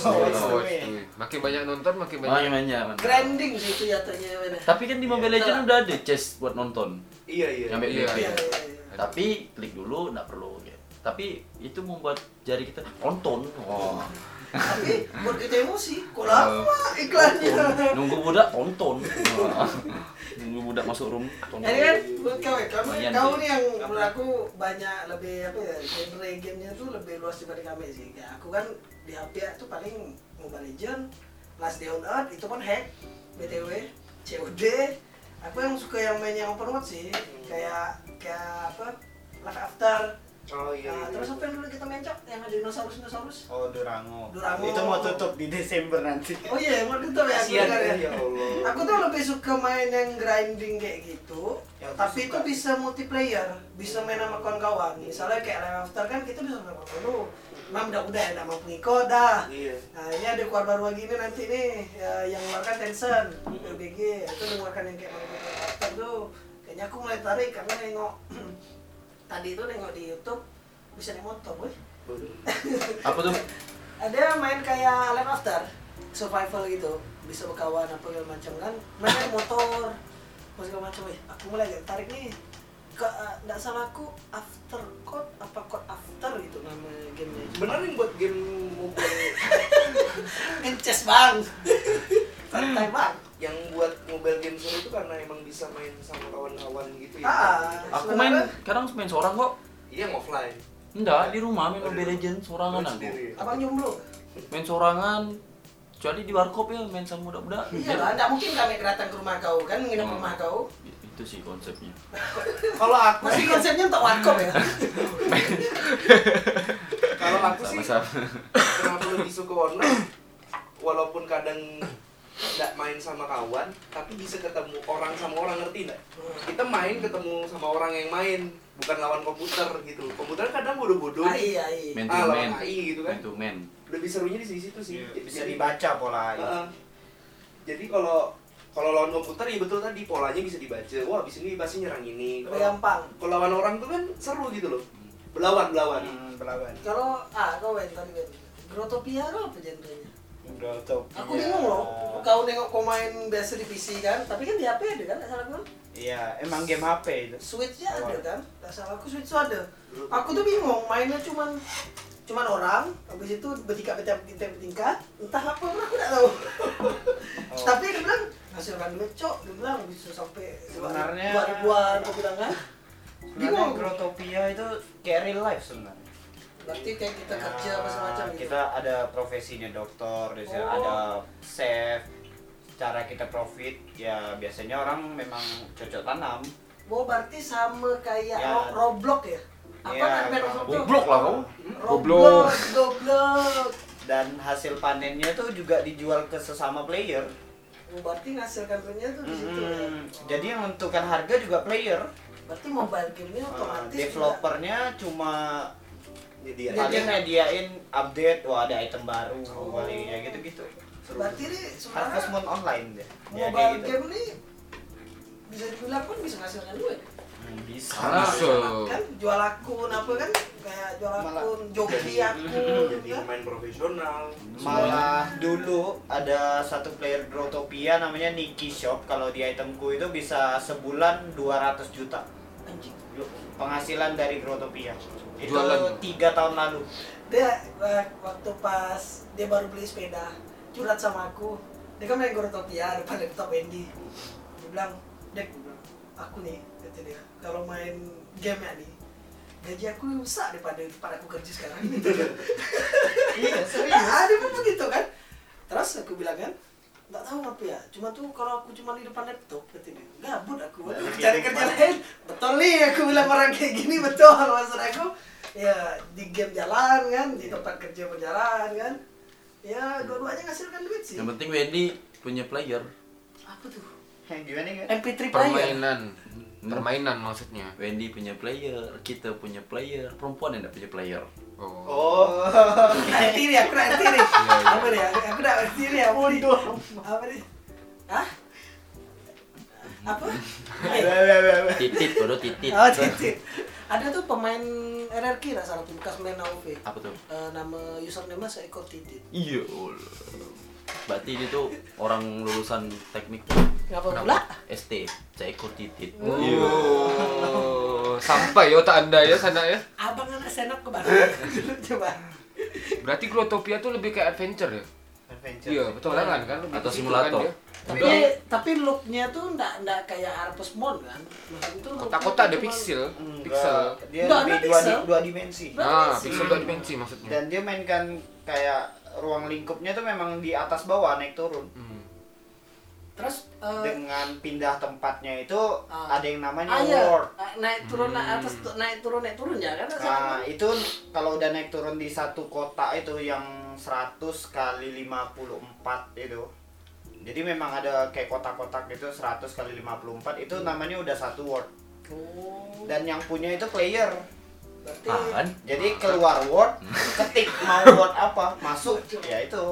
itu. Makin banyak nonton makin banyak.
Makanya
Grinding sih itu jatuhnya. mana.
Tapi kan di Mobile Legends udah ada chest buat nonton.
Iya, iya.
Nyampe
Iya.
BP.
Iya, iya, iya.
Tapi klik dulu nggak perlu gitu. Tapi itu membuat jari kita nonton. Wah.
Tapi buat kita emosi, kok lama
Oh,
iklannya.
Nunggu budak tonton. Wah. Nunggu budak masuk room tonton.
Jadi kan buat kau, kamu,
Lumayan
kamu
sih.
nih yang menurut aku banyak lebih apa ya genre gamenya tuh lebih luas dibanding kami sih. Kayak aku kan di HP tuh paling Mobile Legend, Last Day on Earth itu pun hack, BTW, COD. Aku yang suka yang main yang open world sih, kayak kayak apa Life After.
Oh iya.
Nah,
iya.
terus apa yang dulu kita main Cok? yang ada dinosaurus dinosaurus?
Oh, Durango.
Durango.
Itu mau tutup di Desember nanti.
Oh iya, mau tutup ya? aku
Kasihan
dengar
ya.
ya.
Ya Allah.
Aku tuh lebih suka main yang grinding kayak gitu.
Yang
tapi itu
suka.
bisa multiplayer, bisa main sama kawan-kawan. Misalnya kayak Live After kan kita bisa main sama dulu. Mam udah udah enak mampu ngikut dah.
Iya.
Nah ini ada keluar baru lagi nih nanti nih ya, yang mengeluarkan Tencent, BBG itu mengeluarkan yang kayak Mario Kart After tuh. Kayaknya aku mulai tarik karena nengok tadi itu nengok di YouTube bisa naik motor, boy.
Bener.
Apa tuh?
ada yang main kayak Land After survival gitu bisa berkawan apa segala macam kan main motor apa segala macam eh aku mulai agak tarik nih ke eh, nggak salah aku after code apa code after gitu nama gamenya
Bener nih buat game mobile
ngeces bang santai bang
yang buat mobile game solo itu karena emang bisa main sama kawan-kawan gitu ya.
ah
Iya. Aku
sebenarnya-
main kadang main seorang kok.
Iya yang offline.
Enggak, di rumah main
Oh, di
Mobile
rumah.
Legends sorangan
Main
aku.
sendiri ya?
abang nyumbro
Main sorangan. Kecuali di warkop ya main sama budak-budak.
iya
kan?
lah nggak mungkin kami datang ke rumah kau kan nginep
Oh.
rumah kau
Itu sih konsepnya.
Kalau aku
masih
sih
konsepnya untuk warkop ya
kalau aku sih
Sama-sama.
kenapa lebih suka online walaupun kadang nggak main sama kawan tapi bisa ketemu orang sama orang ngerti nggak kita main ketemu sama orang yang main bukan lawan komputer gitu komputer kadang bodoh-bodoh
ai ai
Main to
ah
man.
lawan AI gitu kan
Main to man.
lebih serunya di situ sih
Iya,
Jadi
bisa dibaca polanya.
Iya.
Heeh. jadi kalau kalau lawan komputer ya betul tadi polanya bisa dibaca wah abis ini pasti nyerang ini
lebih
kalau
gampang
kalau lawan orang tuh kan seru gitu loh belawan belawan
Iya.
Hmm, Berlawan.
kalau ah kau main tadi main Grotopia lo apa genrenya?
Grotopia.
Aku bingung loh. Kau nengok kau main biasa di PC kan, tapi kan di HP ada kan? Nggak salah kan?
Iya, emang game HP itu.
Switchnya ada
Awal.
kan? Nggak salah aku Switch tuh ada. Aku tuh bingung mainnya cuman cuman orang, habis itu bertingkat bertingkat bertingkat, bertingkat entah apa pun aku nggak tahu.
Oh.
tapi dia bilang hasilkan duit cok, dia bilang bisa sampai
Sebenarnya-
dua ribuan aku bilang kan?
Sebenarnya
Bingung.
Oh, Grotopia itu kayak real life sebenarnya.
Berarti kayak kita
Ya,
kerja apa semacam gitu.
Kita ada profesinya dokter, di sini
Oh.
ada chef. Cara kita profit ya biasanya orang memang cocok tanam.
Oh berarti sama kayak
Ya.
Ro- Roblox ya? Apa
Ya,
namanya main
Roblox.
Roblox?
Goblok lah kau.
Roblox, Roblox.
Dan hasil panennya tuh juga dijual ke sesama player.
Oh, berarti ngasilkan duitnya tuh di situ. ya?
Hmm,
Oh.
Jadi yang menentukan harga juga player.
berarti mobile game-nya
Uh,
otomatis juga.
developernya cuma
jadi
Iya.
paling nyediain update, wah ada item baru,
Oh.
paling ya gitu-gitu. Seru.
Berarti ini sebenarnya
Harvest Moon online deh.
mobile
Ya, kayak gitu.
game ini bisa dibilang pun bisa ngasilkan duit.
Hmm, bisa.
Ah,
Karena
bisa.
Kan jual akun apa kan kayak jual
Malah-
akun joki akun
jadi
kan.
pemain profesional
Malah dulu ada satu player Grotopia namanya Niki Shop kalau di itemku itu bisa sebulan 200 juta
Anjing.
penghasilan dari Grotopia. Itu
Jualan.
tiga tahun lalu.
Dia eh, waktu pas dia baru beli sepeda, curhat sama aku. Dia kan main Gorotopia depan laptop Andy. Dia bilang, Dek, dia bilang, aku nih, kata dia, kalau main game ya nih, gaji aku lebih besar daripada daripada aku kerja sekarang.
iya, serius.
Ah, dia pun begitu kan. Terus aku bilang kan, nggak tahu apa ya, cuma tuh kalau aku cuma di depan laptop, kata dia, gabut aku,
Nah,
cari
gitu,
kerja
Pak.
lain. Betul nih, aku bilang orang kayak gini betul maksud aku. Ya di game jalan kan, di tempat kerja berjalan kan. Ya dua-duanya ngasilkan duit sih.
Yang penting Wendy punya player.
Apa tuh?
Heh, Gimana kan?
MP3 player.
Permainan. Permainan maksudnya.
Wendy punya player, kita punya player, perempuan yang tidak punya player.
Oh.
oh
Nanti nih, aku nanti nih.
Iya, iya.
Apa nih? Aku aku nanti nih. Apa nih? Apa nih? Hah? Apa? Eh,
Wah, wah, wah, wah.
Titit, baru titit.
Oh, titit. Ada tuh pemain RRQ nggak salah tuh bekas main AOV.
Apa tuh?
Eh, nama username-nya seekor titit.
Iya. Allah. Berarti dia tuh orang lulusan teknik
Kenapa pula?
ST, seekor titit.
Oh. Sampai otak anda ya sana ya.
Abang anak senap ke Bali. Coba.
Berarti Grotopia tuh lebih kayak adventure ya?
Adventure.
Iya, petualangan kan? Lebih
Atau
ke situ
simulator.
kan dia.
Tapi
Enggak.
tapi look-nya tuh nggak nggak kayak Harvest Moon kan. Maksudnya tuh look-nya
Kota-kota
tuh
ada
cuman-
pixel,
Enggak,
pixel.
Dia
Enggak,
lebih
ada
dua,
pixel.
di- dua dimensi.
Nah,
Berarti
pixel
sih.
dua dimensi maksudnya.
Dan dia mainkan kayak ruang lingkupnya tuh memang di atas bawah naik turun.
Hmm.
Terus eh,
Dengan pindah tempatnya itu
Ah.
ada yang namanya
ah, iya.
ward.
Ah, naik turun naik atas
Hmm.
tu- naik turun naik turun ya kan?
Nah, itu kalau udah naik turun di satu kota itu yang 100 kali 54 itu. Jadi memang ada kayak kotak-kotak gitu 100 kali 54
Hmm.
itu namanya udah satu ward.
Oh,
Dan yang punya itu player.
berarti
Ah, kan?
Jadi keluar word, ketik mau word apa, masuk ya itu.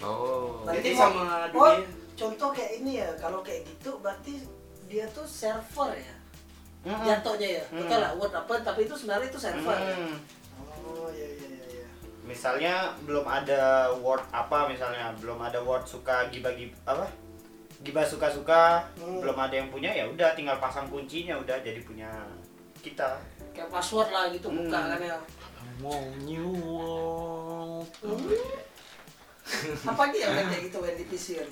Oh.
Berarti
jadi sama
Oh,
dunia
contoh kayak ini ya, kalau kayak gitu berarti dia tuh server ya.
Hmm.
Mm-mm.
Jatuhnya ya.
Mm.
Betul lah, word apa tapi itu sebenarnya itu server. ya?
Hmm.
Oh, iya iya iya iya.
misalnya belum ada word apa misalnya belum ada word suka gibah gibah apa gibah suka suka
Hmm.
belum ada yang punya ya udah tinggal pasang kuncinya udah jadi punya kita
kayak password lah gitu
Hmm.
buka kan ya
Wow, new world.
Hmm. apa lagi yang kayak gitu main di PC kan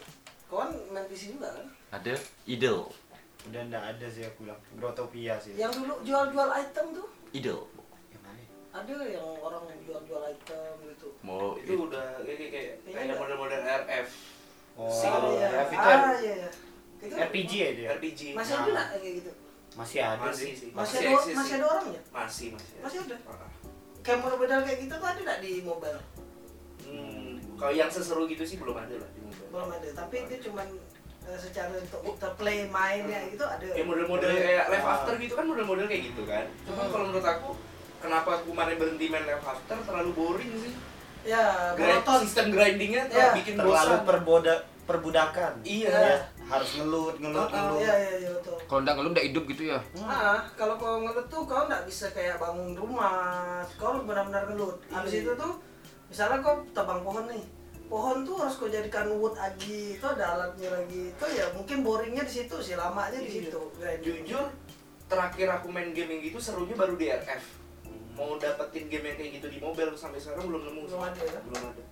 kawan main PC juga kan
Ada idol,
udah ndak ada sih aku bilang grotopia sih
yang dulu jual-jual item tuh
idol.
Yang mana ya?
ada yang orang yang jual-jual item gitu
Mau
itu udah kayak kayak
Iya.
kayak model-model RF
oh
Si-
Ah, iya.
Raf itu
ah, iya, iya. Itu
RPG ya dia
RPG
Iya. masih ada nggak yang kayak gitu
masih ada
Masih
sih
sih.
masih,
Masih
ada
eksis
masih
sih.
ada orangnya
masih masih
Masih ada?
Ah.
kayak model-model kayak gitu tuh ada nggak di mobile
hmm. kalau yang seseru gitu sih belum ada lah di mobile
belum ada tapi itu cuman eh, secara untuk interplay mainnya gitu ada
ya model-model kayak Life After gitu kan model-model kayak gitu kan cuma
Hmm.
kalau menurut aku kenapa aku kemarin berhenti main Life After terlalu boring sih
ya
Grind,
monoton
sistem grindingnya
Ya.
terlalu bikin
terlalu
bosan
perboda perbudakan
iya
Ya.
harus ngelut ngelut ngelut
iya iya iya betul
Kalau ndak ngelum ndak hidup gitu ya.
Hmm.
Ah, kalau kau ngelut tuh kau nggak bisa kayak bangun rumah, kau harus benar-benar ngelut.
Iya.
Habis itu tuh, misalnya kau tebang pohon nih, pohon tuh harus kau jadikan wood lagi, itu ada alatnya lagi, itu ya mungkin boringnya di situ sih, lamanya di
Iya.
situ. Grinding.
jujur terakhir aku main game yang gitu serunya baru di RF mau dapetin game yang kayak gitu di mobile sampai sekarang belum nemu
Belum ada ya?
belum ada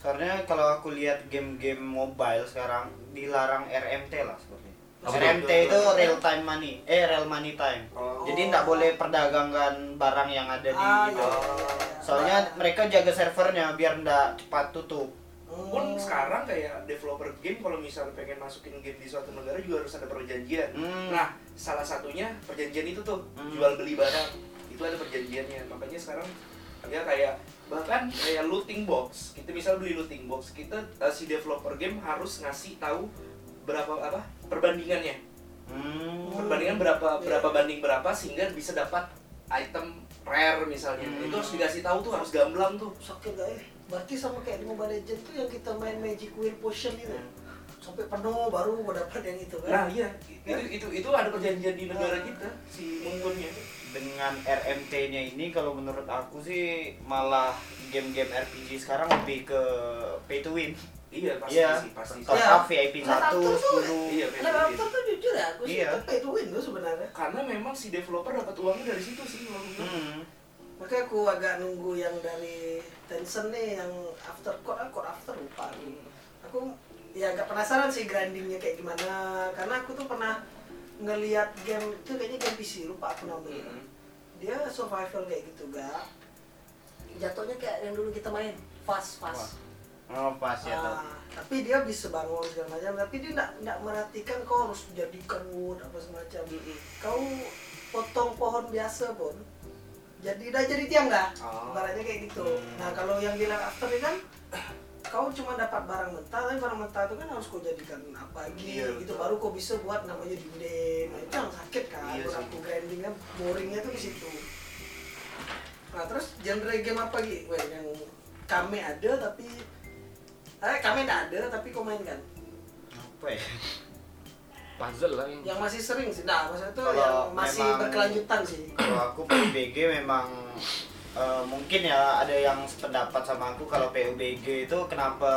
Soalnya kalau aku lihat game-game mobile sekarang dilarang RMT lah sebenarnya.
Apa
tuh?
RMT itu real time money, eh real money time.
Oh.
Iya.
Jadi nggak boleh perdagangkan barang yang ada di.
Ah, iya.
oh,
Soalnya mereka jaga servernya biar nggak cepat tutup.
Hmm.
pun sekarang kayak developer game kalau misalnya pengen masukin game di suatu negara juga harus ada perjanjian
Hmm.
nah salah satunya perjanjian itu tuh
Hmm.
jual beli barang itu ada perjanjiannya makanya sekarang ya kayak bahkan kayak looting box kita misal beli looting box kita eh, si developer game harus ngasih tahu berapa apa perbandingannya
Hmm.
perbandingan berapa
Iya.
berapa banding berapa sehingga bisa dapat item rare misalnya
Hmm.
itu harus dikasih tahu tuh harus gamblang tuh
sakit gak ya? Berarti sama kayak di Mobile Legends tuh yang kita main Magic Wheel Potion itu, ya? sampai penuh baru kau dapat yang itu kan?
nah iya itu itu itu ada perjanjian di negara
Ah.
kita si mungkunnya
Dengan RMT-nya ini kalau menurut aku sih malah game-game RPG sekarang lebih ke pay to win.
iya pasti
Iya.
sih pasti
Top
Iya.
up VIP
Nah,
1,
Raptor tuh-
10.
iya pay
Nah,
to win.
Raptor tuh jujur ya, aku sih
Iya.
itu pay to win tuh sebenarnya.
karena memang si developer dapat uangnya dari situ sih uangnya.
Hmm.
Makanya aku agak nunggu yang dari Tencent nih yang after code, ah, code after lupa aku.
Hmm.
Aku ya agak penasaran sih grindingnya kayak gimana karena aku tuh pernah ngelihat game itu kayaknya game PC lupa aku namanya.
Mhm.
Dia survival kayak gitu gak jatuhnya kayak yang dulu kita main fast fast.
Oh, pas ya.
Ah, tapi dia bisa bangun segala macam tapi dia nggak nggak merhatikan kau harus jadikan wood apa semacam kau potong pohon biasa pun jadi udah jadi tiang dah
Ah.
ibaratnya kayak gitu nah kalau yang bilang after ini kan kau cuma dapat barang mentah tapi barang mentah itu kan harus kau jadikan apa lagi
Iya,
gitu
betul.
baru kau bisa buat namanya dinding nah, itu yang sakit kan
Iya,
menurut
sih.
aku grindingnya boringnya tuh di situ nah terus genre game apa gitu Weh, yang kami ada tapi eh kami nggak ada tapi kau main kan
Apa ya?
Puzzle lah yang.
yang masih sering sih nah maksudnya tuh
Kalau
yang masih
memang-
berkelanjutan sih
kalau aku PUBG memang eh, mungkin ya ada yang sependapat sama aku kalau PUBG itu kenapa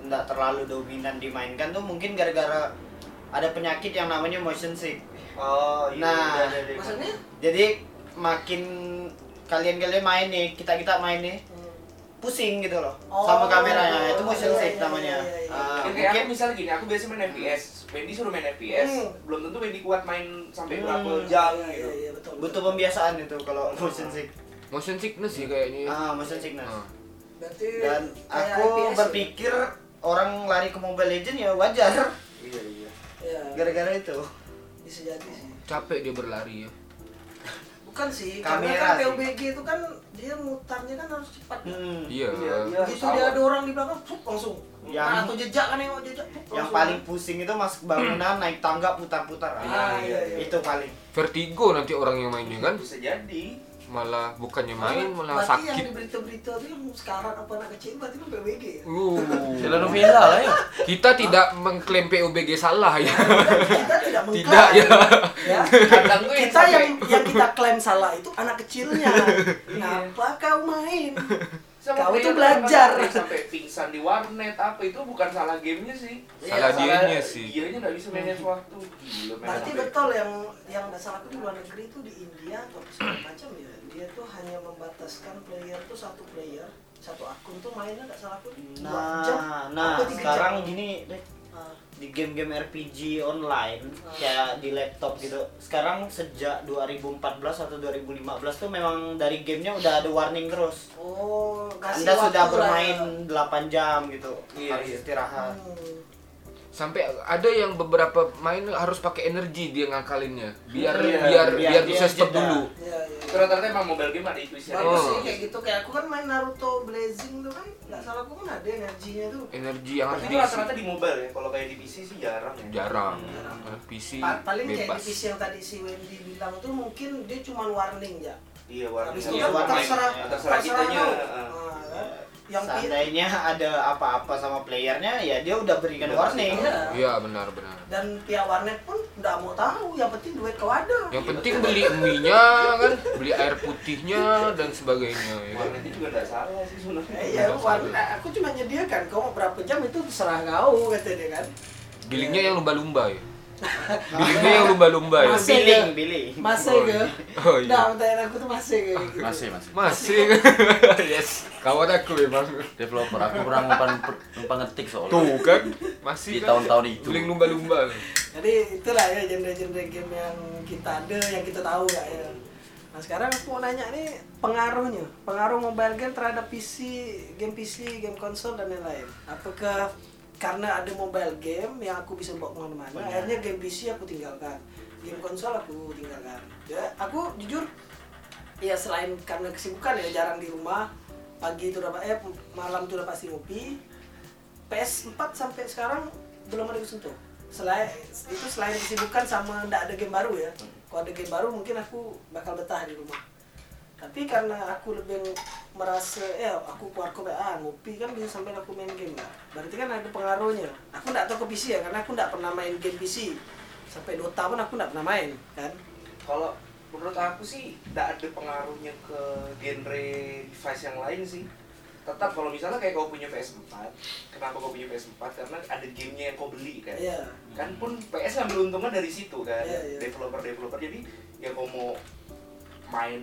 nggak terlalu dominan dimainkan tuh mungkin gara-gara ada penyakit yang namanya motion sick.
oh iya udah,
Nah.
udah, udah.
maksudnya
Jadi makin kalian-kalian main nih, kita-kita main nih,
hmm,
pusing gitu loh
Oh.
sama kameranya. Itu motion
Iya,
sick
iya,
namanya.
iya, iya.
Ah,
Ya, kayak
mungkin
aku misalnya gini, aku biasa main FPS, Wendy suruh main FPS,
Hmm.
belum tentu Wendy kuat main sampai
Hmm.
berapa jam
iya,
gitu.
iya, iya, betul,
butuh pembiasaan itu kalau motion sick.
Motion sickness sih
Iya.
kayaknya. ya.
Ah, motion sickness.
Ah.
Berarti
Dan
kayak
aku
IPS
berpikir orang lari ke Mobile Legend ya wajar
Iya iya.
ya, ya
gara-gara itu.
bisa jadi sih.
Capek dia berlari ya.
Bukan sih,
Kamera
karena kan
sih.
PUBG itu kan dia mutarnya kan harus cepat. kan?
Hmm.
Iya.
Iya, iya.
Begitu dia ada orang di belakang, pup, langsung.
Yang-
Nah, atau jejak kan yang jejak. pup,
Yang
langsung.
paling pusing itu masuk bangunan, naik tangga, putar-putar.
Ah,
Ah,
iya, iya.
Itu paling.
Vertigo nanti orang yang mainnya kan
Bisa jadi.
malah bukannya main malah
berarti yang di
sakit.
berita-berita itu yang sekarang apa anak kecil berarti itu PUBG ya.
Uh.
Telenovela lah ya.
Kita tidak mengklaim PUBG salah ya.
Kita tidak mengklaim.
Tidak, ya.
ya.
Kadang gue
Kita
Iya.
yang yang kita klaim salah itu anak kecilnya. Kenapa kau main?
sama
Kau
player
tuh belajar.
yang sampai pingsan di warnet apa itu bukan salah gamenya sih
Iya,
Salah dianya sih.
dianya nggak bisa manage waktu gila memang
Hmm. Berarti
sampai-
betul yang yang nggak salah aku di luar negeri itu di India atau apa segala macam ya dia tuh hanya membataskan player tuh satu player satu akun tuh mainnya nggak salah aku dua jam
Nah, nah
apa tiga
sekarang
jam.
gini Dek.
Ah,
di game-game RPG online kayak di laptop gitu. Sekarang sejak 2014 atau 2015 tuh memang dari gamenya udah ada warning terus.
oh kasih
Anda
waktu
sudah
lah.
bermain 8 jam gitu.
Iya,
harus
iya.
istirahat.
Hmm.
sampai ada yang beberapa main harus pakai energi dia ngakalinnya biar
Iya,
biar
biar
biar
dia
bisa stop
jeda.
dulu
Iya, iya.
rata-rata emang mobile game ada intuisi aja.
Bagus
Oh.
sih kayak gitu kayak aku kan main Naruto Blazing tuh kan nggak salah aku kan ada energinya tuh.
energi yang harus
Tapi
Tapi
diisi
rata-rata di mobile ya, kalau kayak di PC sih jarang ya.
jarang Anak PC
Pa- paling kayak
bebas
di PC yang tadi si Wendy bilang tuh mungkin dia cuma warning ya.
Iya, warna
Habis itu
Iya,
kan
warning.
terserah
Iya.
terserah
Terserah kitanya,
kau.
ah.
Ah, kan?
Hmm.
Yang pi-
Seandainya ada apa-apa sama playernya ya dia udah berikan
Udah
warning.
Iya.
iya benar benar
dan pihak warnet pun nggak mau tahu yang penting duit kau ada.
yang penting beli mie-nya kan beli air putihnya dan sebagainya ya kan?
warnetnya juga nggak salah sih sebenarnya
Eh, Iya, warnet aku cuma nyediakan kau mau berapa jam itu terserah kau kata dia kan.
billingnya yang lumba-lumba ya billingnya yang lumba-lumba ya
Masih.
Billing, billing.
Masih
Oh,
ke?
oh iya.
Nah, pertanyaan aku tuh masih ke gitu.
Masih, masih.
masih yes kawan aku ya, memang
Developer aku kurang umpan umpan ngetik soalnya.
tuh kan masih
Di
kan?
tahun-tahun itu.
beli lumba-lumba ya.
Jadi itulah ya genre-genre game yang kita ada, yang kita tahu lah ya. Nah sekarang aku mau nanya nih pengaruhnya, pengaruh mobile game terhadap PC, game PC, game konsol dan lain-lain. Apakah karena ada mobile game yang aku bisa bawa kemana-mana, akhirnya game PC aku tinggalkan, game konsol aku tinggalkan. Ya, aku jujur, ya selain karena kesibukan ya jarang di rumah, pagi itu dapat eh malam itu udah pasti ngopi, PS4 sampai sekarang belum ada kesentuh. Selain itu selain kesibukan sama ndak ada game baru ya. Kalau ada game baru mungkin aku bakal betah di rumah. Tapi karena aku lebih merasa ya aku keluar ke ah, ngopi kan bisa sampai aku main game lah. Berarti kan ada pengaruhnya. Aku ndak tahu ke PC ya karena aku ndak pernah main game PC. Sampai Dota pun aku ndak pernah main kan.
kalau menurut aku sih tidak ada pengaruhnya ke genre device yang lain sih tetap kalau misalnya kayak kau punya PS4 kenapa kau punya PS4 karena ada gamenya yang kau beli kan
Iya.
kan pun PS ambil untungnya dari situ kan
Iya, iya.
developer developer jadi yang kau mau main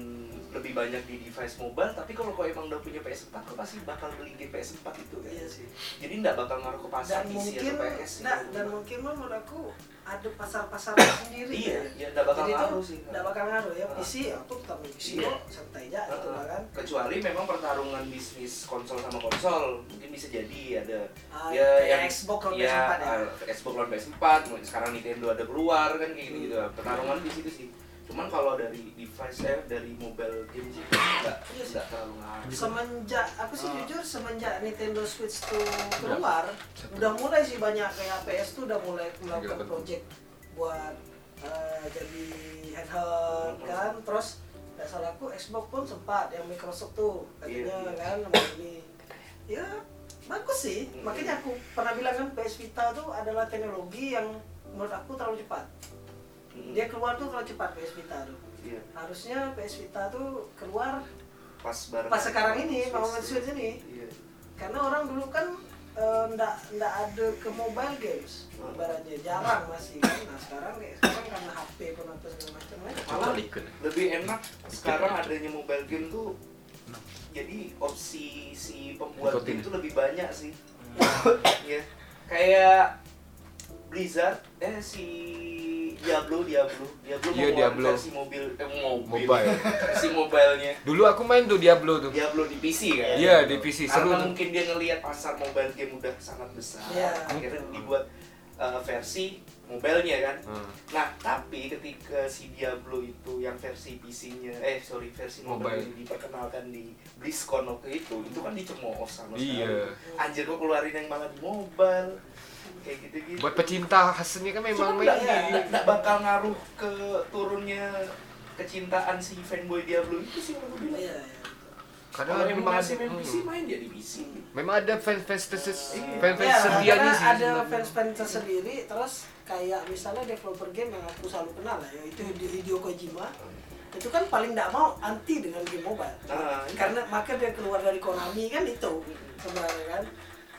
lebih banyak di device mobile tapi kalau kau emang udah punya PS4 kau pasti bakal beli game PS4 itu kan
Iya sih.
jadi nggak bakal ngaruh ke pasar
Dan
PC
mungkin
atau gitu. PS sih,
nah,
menurut
dan
gua.
mungkin menurut aku ada pasar-pasar sendiri.
iya
ya.
ya nggak bakal
Jadi tuh
ngaruh sih
nggak bakal ngaruh ya
Ah.
PC aku tetap main PC
Iya. Ah.
kok santai aja gitu lah kan
kecuali memang pertarungan bisnis konsol sama konsol mungkin bisa jadi ada
Ah,
ya
kayak
yang
Xbox lawan
ya,
PS4 ya.
ah, Xbox lawan PS4 mungkin sekarang Nintendo ada keluar kan kayak gitu
Hmm.
gitu pertarungan di situ sih cuman kalau dari device eh, dari mobile game sih nggak
Iya sih.
nggak terlalu ngaruh
semenjak aku sih
Gitu. Ah. Ya,
jujur semenjak Nintendo Switch tuh keluar udah mulai sih banyak kayak PS tuh udah mulai melakukan
Gila,
project buat eh, jadi handheld kan terus nggak salah aku Xbox pun sempat yang Microsoft tuh katanya
Iya, iya.
kan mau ini ya bagus sih
Hmm.
makanya aku pernah bilang kan PS Vita tuh adalah teknologi yang menurut aku terlalu cepat
Mm,
dia keluar tuh terlalu cepat PS Vita tuh
iya.
harusnya PS Vita tuh keluar
pas bareng
Pas sekarang ini,
Switch
momen
sih.
Switch ini.
Iya.
karena orang dulu kan eh, ndak ndak ada ke mobile games ibaratnya jarang masih kan nah sekarang kayak sekarang karena HP pun apa segala macam kan
Malah
Kecuali ikut.
lebih enak sekarang adanya mobile game tuh jadi opsi si pembuat
Ikutin. Hmm.
game itu lebih banyak sih ya kayak Blizzard eh si Diablo Diablo Diablo
Iya,
mengeluarkan
Diablo.
versi mobil eh mobil
Mobile.
versi mobilenya
dulu aku main tuh Diablo tuh
Diablo di PC kan
Iya, di PC, seru
karena
tuh.
mungkin dia ngelihat pasar mobile game udah sangat besar
Iya.
akhirnya dibuat eh, versi mobilenya kan
Hmm.
Nah, tapi ketika si Diablo itu yang versi PC-nya, eh sorry versi mobile,
Mobile.
diperkenalkan di BlizzCon waktu itu, itu kan dicemooh sama
Iya.
sekali. Anjir kok keluarin yang malah di mobile, kayak gitu-gitu.
buat pecinta hasilnya kan memang
Cuman
main
nggak-
game.
nggak- nggak bakal ngaruh ke turunnya kecintaan si fanboy Diablo itu sih kalau gue bilang.
iya
karena
Kalau yang
memang
masih main
hmm.
PC main dia di PC.
memang ada fans fans terses
Iya.
fans
Ya,
fans sedianya
karena
sih
ada
sebenarnya.
fans-fans tersendiri, terus kayak misalnya developer game yang aku selalu kenal lah, yaitu Hideo ya, Kojima. itu kan paling tidak mau anti dengan game mobile
Nah, ini-
karena maka dia keluar dari Konami kan itu sebenarnya kan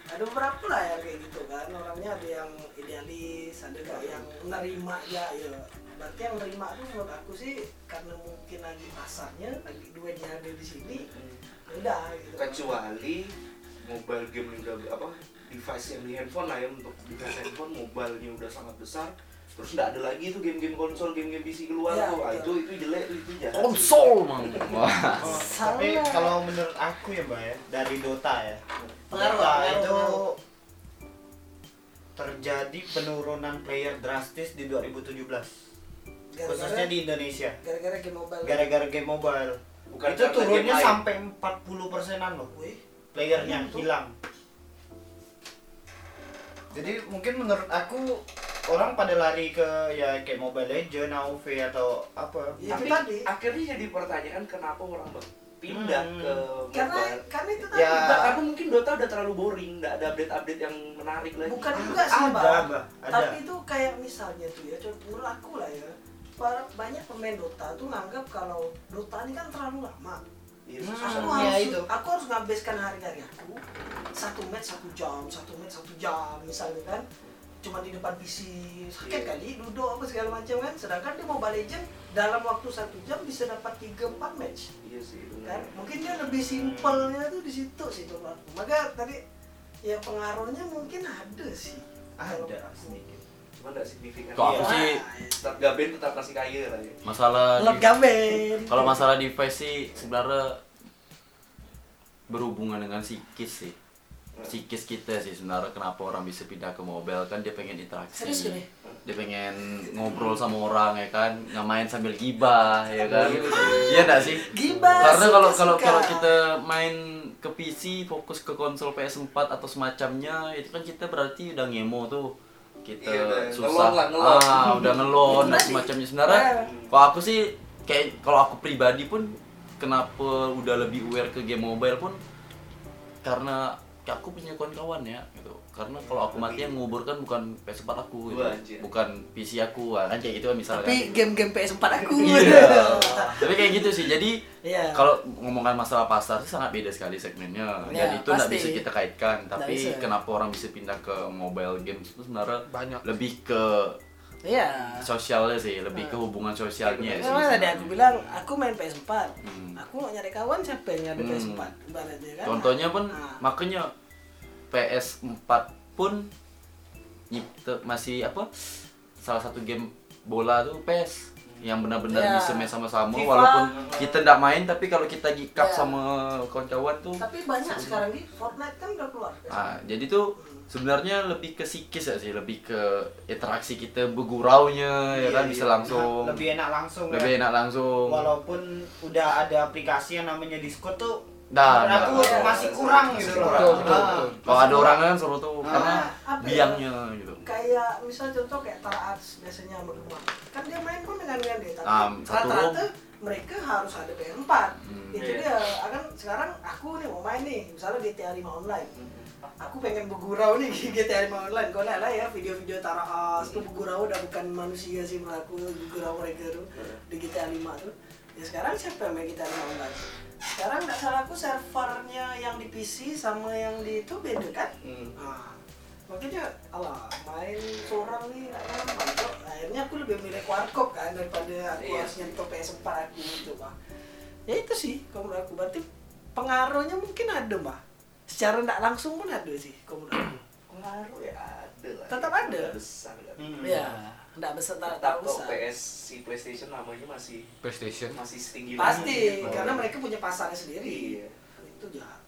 ada beberapa lah yang kayak gitu kan orangnya ada yang idealis ada juga yang nerima ya ya berarti yang nerima itu menurut aku sih karena mungkin lagi pasarnya lagi duitnya ada di sini
kan-
ya udah gitu
kecuali mobile game yang udah apa device yang di handphone lah ya untuk device handphone mobilenya udah sangat besar terus nggak ada lagi tuh game-game konsol game-game PC keluar
Ya,
tuh ah, itu
betul.
itu jelek tuh itu jahat
Konsol mang. Wah.
Oh,
Salah.
tapi kalau menurut aku ya mbak ya dari Dota ya
Pengaruh,
Dota
pengaruh,
itu
pengaruh.
terjadi penurunan player drastis di 2017
gara-gara
khususnya di Indonesia
gara-gara game mobile
gara-gara game mobile
Bukan
itu
karena
turunnya
game lain.
sampai 40 persenan loh
Wih,
playernya hilang jadi mungkin menurut aku orang pada lari ke ya kayak Mobile Legend, AoV atau apa
Iya.
tapi
Itu tadi.
akhirnya jadi pertanyaan kenapa orang ber- pindah
Hmm.
ke
karena
mobile
karena itu tadi
Ya.
Nggak, karena mungkin Dota udah terlalu boring nggak ada update-update yang menarik lagi
bukan juga sih
ada,
Bang.
Mbak, ada.
tapi itu kayak misalnya tuh ya contoh menurut aku lah ya para banyak pemain Dota tuh nganggap kalau Dota ini kan terlalu lama
Iya,
Hmm.
susah.
aku
Iya,
harus
itu.
aku harus ngabeskan hari hari aku satu match satu jam satu match satu jam misalnya kan cuma di depan PC sakit
Iya.
kali duduk apa segala macam kan sedangkan di Mobile Legends dalam waktu satu jam bisa dapat 3-4 match
Hmm.
iya sih benar
Hmm.
kan mungkin dia lebih simpelnya tuh di situ sih kalau aku maka tadi ya pengaruhnya mungkin ada sih Kalau
ada
aku.
sedikit
cuma nggak signifikan Iya.
Kok aku
Wah,
sih
tetap gaben tetap masih kaya lah ya
masalah
Lord
di-
Gaben
kalau masalah device sih sebenarnya berhubungan dengan psikis sih psikis kita sih sebenarnya kenapa orang bisa pindah ke mobile kan dia pengen interaksi
Serius gak nih?
dia pengen ngobrol sama orang ya kan nggak main sambil gibah ya kan iya enggak sih
Gibah,
karena kalau kalau
suka-suka.
kalau kita main ke PC fokus ke konsol PS4 atau semacamnya itu kan kita berarti udah ngemo tuh kita
Iya, udah
susah
ngelon lah, ngelon.
ah udah ngelon dan
Tadi.
semacamnya sebenarnya
Eh.
kalau aku sih kayak kalau aku pribadi pun kenapa udah lebih aware ke game mobile pun karena kayak aku punya kawan-kawan ya gitu karena kalau aku mati yang menguburkan bukan PS4 aku gitu.
Wah, anjir.
bukan PC aku ah, kan kayak gitu kan misalnya
tapi game-game PS4 aku
Iya. tapi kayak gitu sih jadi
Iya.
kalau ngomongkan masalah pasar sih sangat beda sekali segmennya
Iya,
dan itu nggak
pasti.
bisa kita kaitkan
Nggak
tapi
bisa.
kenapa orang bisa pindah ke mobile games itu sebenarnya
Banyak.
lebih ke
iya
sosialnya sih
Ah.
lebih ke hubungan sosialnya sih
Memang tadi
sebenarnya.
aku bilang, aku main PS4
Hmm.
Aku mau nyari kawan siapa yang nyari
Hmm.
PS4 Ibaratnya kan
Contohnya pun
Nah.
makanya PS4 pun nyipte masih apa salah satu game bola tuh PES yang benar-benar
Ya.
bisa main sama-sama
FIFA.
walaupun kita ndak main tapi kalau kita gikap
Ya.
sama kawan-kawan tuh
Tapi banyak sekarang nih, Fortnite kan udah keluar PS4.
ah, jadi tuh sebenarnya lebih ke psikis ya sih lebih ke interaksi kita beguraunya ya
Iya,
kan
iya.
bisa langsung
lebih enak langsung ya.
lebih enak langsung
walaupun udah ada aplikasi yang namanya Discord tuh
Nah,
menurut aku
nah.
masih kurang
Masih
gitu loh.
kurang.
Betul, betul,
Ah,
betul.
kalau ada orang kan seru tuh
Ah,
karena
apa ya?
biangnya gitu
kayak misal contoh kayak Tara Arts biasanya sama rumah kan dia main pun dengan dengan dia tapi
Ah, satu
rata-rata
room.
mereka harus ada PS4
Hmm.
itu
Iya.
dia akan sekarang aku nih mau main nih misalnya GTA 5 online
Hmm.
aku pengen begurau nih GTA 5 online kau lihat lah ya video-video Tara Arts tuh begurau udah bukan manusia sih menurut aku begurau mereka tuh
Hmm.
di GTA 5 tuh ya sekarang siapa yang main GTA 5 online sekarang nggak salah aku servernya yang di PC sama yang di itu beda kan
Hmm.
Nah, makanya alah main seorang nih nggak nyaman kok akhirnya aku lebih milih warkop kan daripada aku
Iya.
harus nyentuh PS4 aku gitu mah ya itu sih kalau menurut aku berarti pengaruhnya mungkin ada mah secara nggak langsung pun ada sih kalau menurut aku
pengaruh ya ada lah
Tetap ada.
Nggak besar nggak
Hmm.
ya nggak besar tak
tetap kok
besar
PS si PlayStation namanya masih
PlayStation.
masih setinggi
pasti
langit.
karena mereka punya pasarnya sendiri
Iya.
itu jahat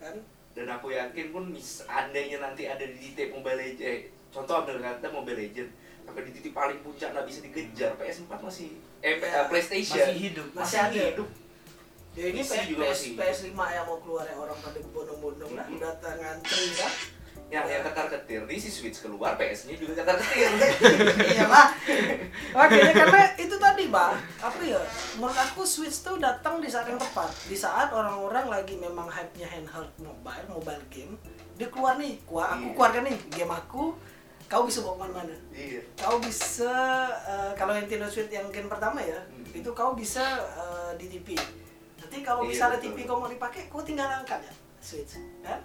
kan
dan aku yakin pun mis andainya nanti ada di titik Mobile Legend eh, contoh Abdul kata Mobile Legend sampai di titik paling puncak nggak bisa dikejar PS4 masih eh, P- eh, PlayStation
Masih hidup.
Iya. Masih
masih,
ada.
hidup
Ya ini
PC juga
PS,
masih.
PS, 5 yang mau keluar ya orang pada bodong-bodong lah,
Mhm.
udah ngantri lah.
yang
Iya.
yang ketar ketir ini si Switch keluar PS-nya juga ketar ketir
iyalah oke karena itu tadi bah apa ya menurut aku Switch tuh datang di saat yang tepat di saat orang-orang lagi memang hype-nya handheld mobile mobile game dia keluar nih gua aku
Iya.
keluarkan nih game aku kau bisa bawa kemana-mana
Iya.
kau bisa eh, kalau Nintendo Switch yang gen pertama ya itu kau bisa eh, di TV nanti kalau
Iya,
misalnya
betul.
TV kau mau dipakai kau tinggal angkat ya Switch kan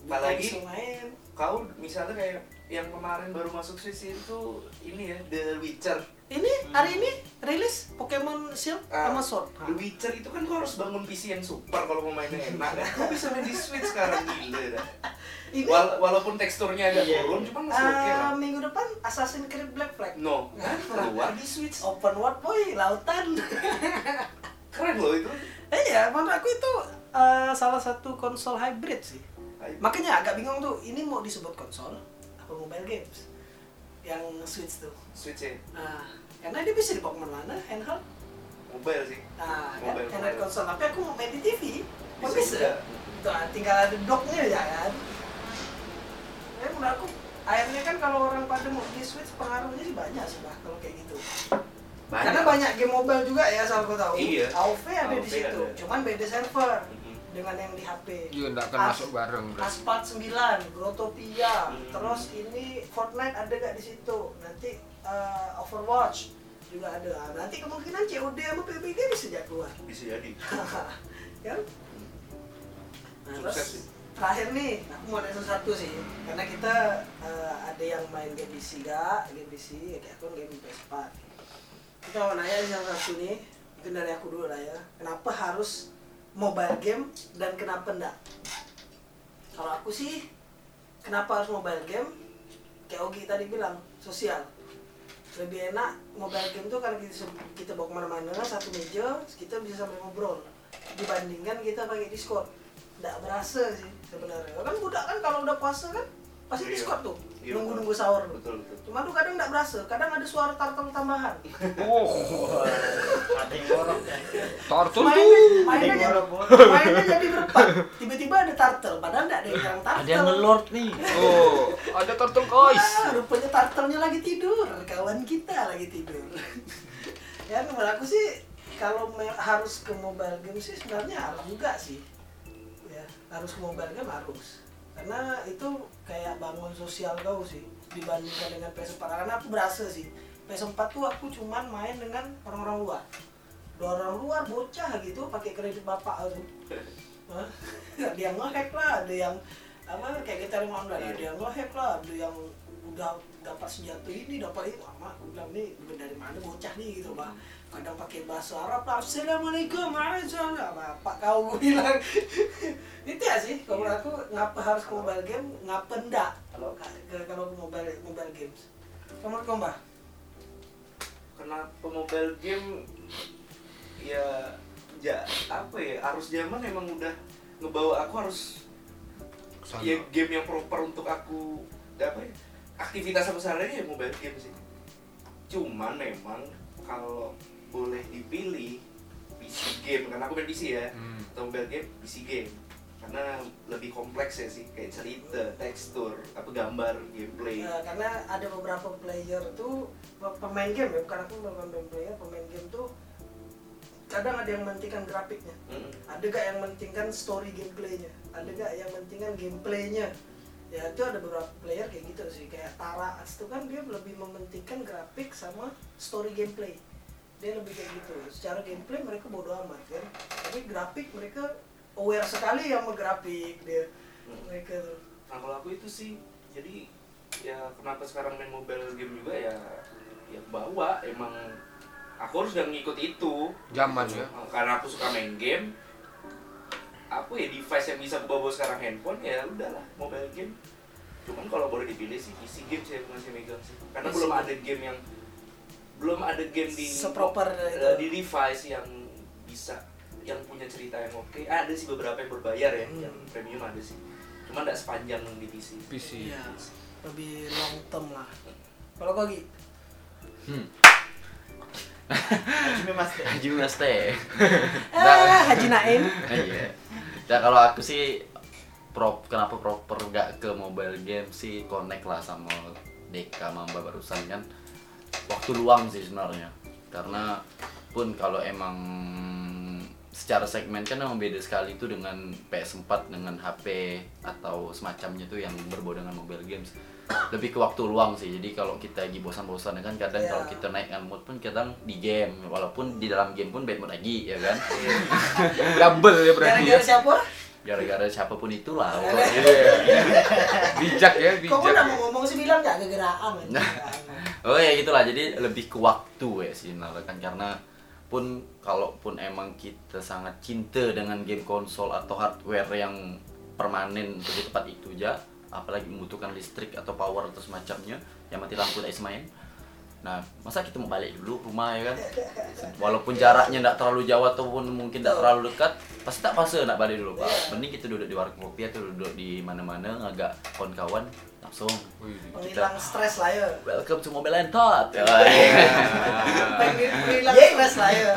Apalagi-
Kau bisa main
Kau misalnya kayak yang kemarin baru masuk Swiss itu ini ya The Witcher.
ini hari ini rilis Pokemon Shield
Ah,
sama Sword
The Witcher itu kan kau harus bangun PC yang super kalau mau mainnya enak. kan? Kau bisa main di Switch sekarang gila. dah.
ini
Wal- walaupun teksturnya agak
Iya.
turun, cuman masih oke
eh,
lah.
minggu depan Assassin's Creed Black Flag
No, kan keluar di Switch.
open world boy lautan
Keren loh itu.
Eh ya, menurut aku itu eh, salah satu konsol hybrid sih. Makanya agak bingung tuh, ini mau disebut konsol apa mobile games? Yang Switch tuh.
Switch ya,
Nah, karena dia bisa dibawa kemana-mana, handheld.
Mobile sih.
Nah, kan,
Mobile,
handheld
mobile.
konsol. Tapi aku mau main di TV,
Bisa juga.
kok Oh, bisa? Tuh, tinggal ada docknya ya kan. Tapi menurut aku, akhirnya kan kalau orang pada mau di Switch, pengaruhnya sih banyak sih bah, kalau kayak gitu. Karena banyak game mobile juga ya, asal kau tahu.
Iya.
AOV ada di
AOV
situ,
ada.
cuman beda server
Mhm.
dengan yang di HP.
Iya, nggak akan
As-
masuk bareng. bro.
Aspart 9, Grotopia,
Hmm.
terus ini Fortnite ada gak di situ? Nanti eh, Overwatch juga ada. Nanti kemungkinan COD sama PUBG bisa jadi keluar.
Bisa jadi.
kan? Nah,
Sukses
terus
sih.
terakhir nih, aku mau nanya satu sih. Karena kita eh, ada yang main game PC gak, game PC, kayak aku game PS4. Kita mau nanya yang satu nih, mungkin dari aku dulu lah ya. Kenapa harus mobile game dan kenapa enggak? Kalau aku sih, kenapa harus mobile game? Kayak Ogi tadi bilang, sosial. Lebih enak mobile game tuh karena kita, kita bawa kemana-mana, satu meja, kita bisa sambil ngobrol. Dibandingkan kita pakai Discord. Nggak berasa sih sebenarnya. Kan budak kan kalau udah puasa kan, pasti
Iya.
Discord tuh.
Iya,
Nunggu-nunggu sahur.
Betul betul.
Cuma tuh kadang nggak berasa, kadang ada suara tartel tambahan.
Ada yang borok ya.
Tortul tuh.
Mainnya, mainnya,
Ada yang
jadi-
borok-borok.
mainnya jadi berempat. Tiba-tiba ada tartel, padahal nggak ada yang tartel.
Ada yang ngelord nih.
Oh, ada turtle guys.
Wah, rupanya tartelnya lagi tidur, kawan kita lagi tidur. ya menurut aku sih kalau me- harus ke mobile game sih sebenarnya harus juga sih. Ya, harus ke mobile game harus. Karena itu kayak bangun sosial kau sih dibandingkan dengan PS4 karena aku berasa sih. PS4 tuh aku cuman main dengan orang-orang luar. Dua orang luar bocah gitu pakai kredit bapak aku. Hah? ada yang ngehack lah, ada yang apa kayak kita mau online, ada yang ngehack lah, ada yang udah dapat senjata ini, dapat itu, ama aku bilang nih bener dari mana bocah nih gitu pak. Kadang pakai bahasa Arab lah, assalamualaikum, waalaikumsalam, apa kau Gua bilang itu ya sih, kalau menurut aku ngapa harus ke mobile game, ngapa enggak kalau ke- kalau ke mobile mobile games. Kamu menurut kamu, Mbak?
kenapa mobile game ya ja apa ya arus zaman emang udah ngebawa aku harus
Kesana.
ya game yang proper untuk aku apa ya aktivitas aku sehari ya mobile game sih cuman memang kalau boleh dipilih PC game karena aku main PC ya
Hmm.
atau mobile game PC game karena lebih kompleks ya sih kayak cerita tekstur apa gambar gameplay
Ya, karena ada beberapa player tuh pe- pemain game ya, bukan aku bukan pemain player, pemain game tuh kadang ada yang mementingkan grafiknya,
Mm.
ada gak yang mementingkan story gameplaynya, ada gak yang mementingkan gameplaynya. Ya itu ada beberapa player kayak gitu sih, kayak Tara Ast itu kan dia lebih mementingkan grafik sama story gameplay. Dia lebih kayak gitu. Secara gameplay mereka bodo amat kan, tapi grafik mereka aware sekali sama grafik dia. Mereka tuh.
Nah kalau aku itu sih, jadi ya kenapa sekarang main mobile game juga ya ya bawa emang aku harus udah ngikut itu
Zaman ya.
Nah, karena aku suka main game aku ya device yang bisa aku bawa sekarang handphone ya udahlah mobile game cuman kalau boleh dipilih sih PC game sih aku masih megang sih karena
PC.
belum ada game yang belum ada game di
Seproper itu.
eh, di device yang bisa yang punya cerita yang oke ada sih beberapa yang berbayar ya
Hmm.
yang premium ada sih cuman tidak sepanjang di PC
PC.
Iya, lebih long term lah. Kalau kau Gi?
Hajime Mas ya. Teh.
Haji Mas teh.
Eh, Haji Naim.
Iya. Nah kalau aku sih prop kenapa proper nggak ke mobile game sih connect lah sama Deka Mamba barusan kan waktu luang sih sebenarnya karena pun kalau emang secara segmen kan emang beda sekali itu dengan PS4 dengan HP atau semacamnya tuh yang berbau dengan mobile games lebih ke waktu luang sih jadi kalau kita lagi bosan-bosan ya kan kadang
Iya.
kalau kita naikkan mood pun kadang di game walaupun di dalam game pun bad mood lagi ya kan
Double ya
Iya.
berarti ya.
Gara-gara siapa?
gara-gara siapapun itulah
Gara-gara-
pokoknya.
Iya. Bijak ya,
Kok
bijak.
pun
ya.
nak mau ngomong sih bilang gak kegeraan
Oh ya gitulah jadi lebih ke waktu ya sih Nara, kan karena pun kalaupun emang kita sangat cinta dengan game konsol atau hardware yang permanen untuk di tempat itu aja apalagi membutuhkan listrik atau power atau semacamnya yang mati lampu tak bisa main nah masa kita mau balik dulu rumah ya kan walaupun jaraknya tidak terlalu jauh ataupun mungkin tidak terlalu dekat pasti tak fase nak balik dulu
Iya.
pak mending kita duduk di warung kopi atau duduk di mana-mana agak kawan-kawan langsung
Wih.
Penghilang stres lah ya
Welcome to Mobile and Tot.
Penghilang penghilang stres lah ya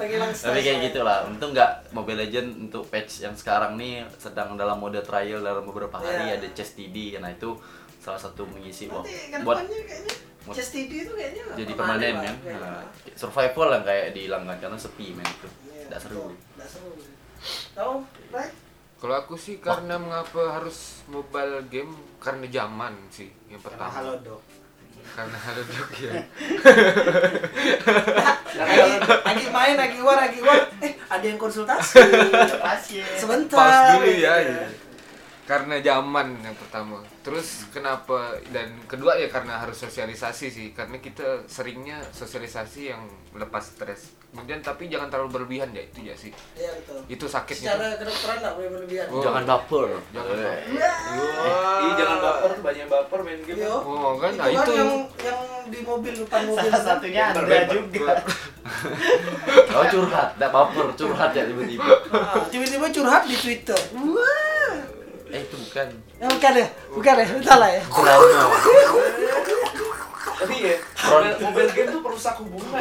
Penghilang stres
Nah. Eh. Tapi kayak gitu
lah ya.
gitulah. Untung nggak Mobile Legend untuk patch yang sekarang nih sedang dalam mode trial dalam beberapa hari
Iya.
ada chest TD. Nah itu salah satu mengisi
Nanti ke
waktu buat
depannya kayaknya
buat-
Chest TD itu kayaknya
jadi permanen
lah,
ya.
kayaknya.
Nah, survival lah kayak dihilang kan karena sepi men itu.
Iya,
Nggak seru.
betul. Nggak seru Tau, right?
Kalau aku sih karena mengapa harus mobile game karena zaman sih yang
Karena
pertama.
halodoc.
Karena halodoc ya.
Eh, Lagi, lagi main, lagi war, lagi war Eh, ada yang konsultasi Sebentar
Pause dulu ya.
Iya.
iya. Karena zaman yang pertama. Terus kenapa dan kedua ya karena harus sosialisasi sih. Karena kita seringnya sosialisasi yang lepas stres. Kemudian tapi jangan terlalu berlebihan ya itu ya sih.
Iya, betul
Itu sakitnya.
Secara kedokteran nggak boleh berlebihan
Oh.
Jangan baper.
Jangan
Eh.
baper.
Iya.
Eh,
Ih, jangan baper, banyak baper main game.
Iya.
Oh, kan?
itu
Nah,
kan
itu.
yang yang di mobil depan mobil
Salah
kan?
satunya Anda juga.
Oh curhat, nggak baper, curhat ya tiba-tiba.
Ah, tiba-tiba curhat di Twitter. Wah.
Eh itu bukan.
Ya, bukan ya? Bukan ya? Salah ya?
Drama.
Tapi ya,
Front.
mobile, mobile game tuh perusak hubungan.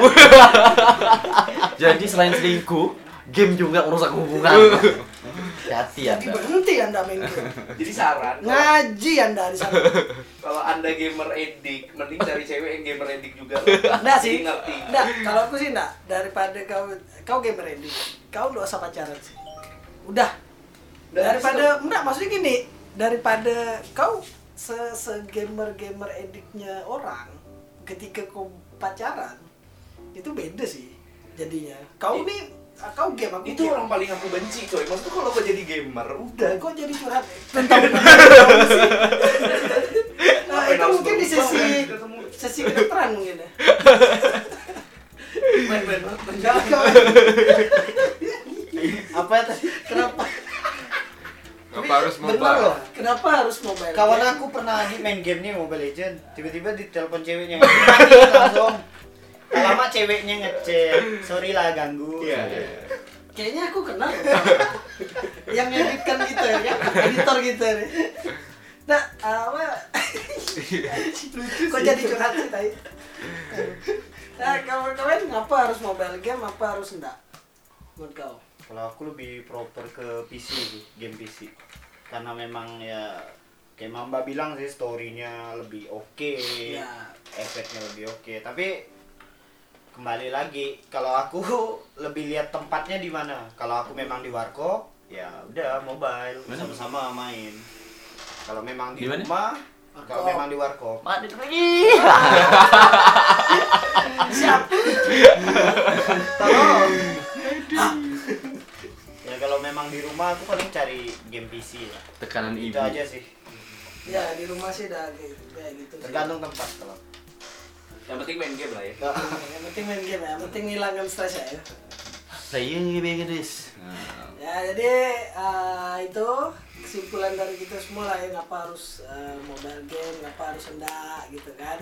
Jadi selain selingkuh, game juga merusak hubungan. Hati-hati
Jadi
Anda.
berhenti Anda main game.
Jadi saran, kalau-
Ngaji Anda di sana.
kalau anda gamer edik, mending cari cewek yang gamer edik juga.
Enggak sih.
Jadi ngerti.
Enggak, kalau aku sih enggak daripada kau kau gamer ready. Kau enggak usah pacaran sih. Udah.
Udah,
Daripada enggak maksudnya gini, daripada kau se gamer-gamer ediknya orang ketika kau pacaran itu beda sih jadinya. Kau
I-
nih kau game aku
Itu
game.
orang paling aku benci coy. Maksudku kalau gue jadi gamer,
udah kok jadi curhat tentang nah,
Ngapain
itu
harus
mungkin di
berubah,
sesi
kan? Ketemu.
sesi kedokteran mungkin ya
main-main
Jangan
tendangan.
kau
Apa tadi? Kenapa?
Kenapa harus
benar
mobile?
loh kenapa harus mobile
Kawan aku pernah di main game nih Mobile Legend, tiba-tiba ditelepon ceweknya. Mati langsung. Tak Lama ceweknya ngechat, sorry lah ganggu.
Iya, iya.
kayaknya aku kenal loh. yang editkan gitu ya kan editor gitu ya nah apa lucu kok jadi curhat sih tadi nah kawan-kawan ngapa harus mobile game apa harus enggak menurut kau
Kalau aku lebih proper ke PC sih, game PC. Karena memang ya kayak Mamba bilang sih story-nya lebih oke, Iya.
Ya.
efeknya lebih oke. Tapi kembali lagi kalau aku lebih lihat tempatnya di mana. Kalau aku memang di warkop, ya udah mobile sama-sama main. Kalau memang di
Di mana?
rumah, kalau
Warkop.
memang di warkop.
Mati lagi.
Tolong. ya kalau memang di rumah aku paling cari game PC ya.
Tekanan
Itu
ibu.
aja sih.
ya di rumah sih udah kayak kayak gitu sih.
Tergantung tempat kalau.
Yang penting main game lah ya.
yang penting main game ya, yang penting ngilangkan stres ya.
Saya ngibe this.
Ya jadi eh, itu kesimpulan dari kita semua lah ya ngapa harus eh, mobile game, ngapa harus enggak gitu kan.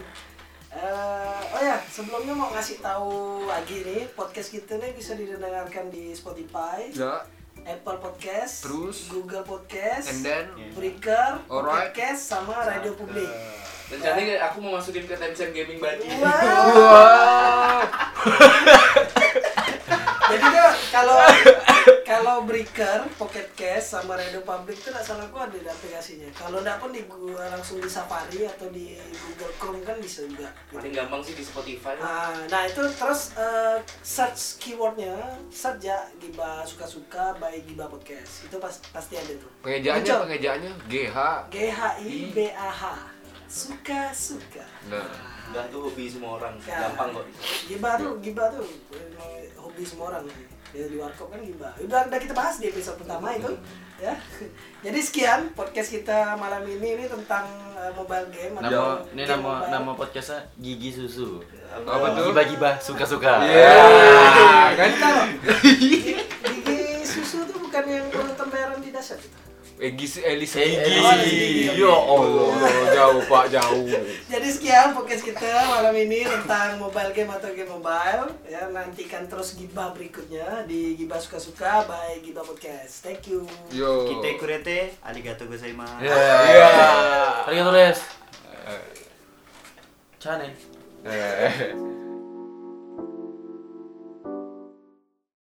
Eh, oh ya sebelumnya mau ngasih tahu lagi nih podcast kita nih bisa didengarkan di Spotify,
Ya.
Apple Podcast,
Terus?
Google Podcast,
And then
Breaker,
Alright.
Podcast sama Radio Publik.
Rencananya aku mau masukin ke Tencent Gaming Buddy.
Wow.
Wah.
Jadi tuh kalau kalau Breaker, Pocket Cash sama Radio Public itu nggak salah gua ada di aplikasinya. Kalau nggak pun di gua langsung di Safari atau di Google Chrome kan bisa juga.
Paling gampang sih di Spotify.
Ah, nah itu terus eh, search keywordnya search ya Giba suka suka by Giba podcast itu pas, pasti ada tuh
Pengejaannya,
Muncul.
pengejaannya GH
G H I B A H suka suka.
Nah.
Enggak tuh hobi semua orang,
Ya.
gampang kok.
Giba tuh, giba tuh emang hobi semua orang. Ya, di warkop kan giba. Udah, udah kita bahas di episode pertama itu, ya. Jadi sekian podcast kita malam ini ini tentang eh, mobile game. atau
Nama, ini
game
nama
mobile.
nama podcastnya Gigi Susu.
Oh, betul.
Gibah-gibah, Ya. suka-suka.
Iya, kan?
Kita loh. Gigi, gigi susu tuh bukan yang penonton bayaran di dasar. Gitu.
Egis Elis
Eh,
Gigi.
Elis Gigi.
Ya Allah, jauh Pak, jauh.
Jadi sekian podcast kita malam ini tentang mobile game atau game mobile. Ya nantikan terus gibah berikutnya di gibah suka-suka by Gibah Podcast. Thank you.
Yo.
Kita kurete, arigatou gozaimasu.
Iya. Arigatou des. Cane.
Iya.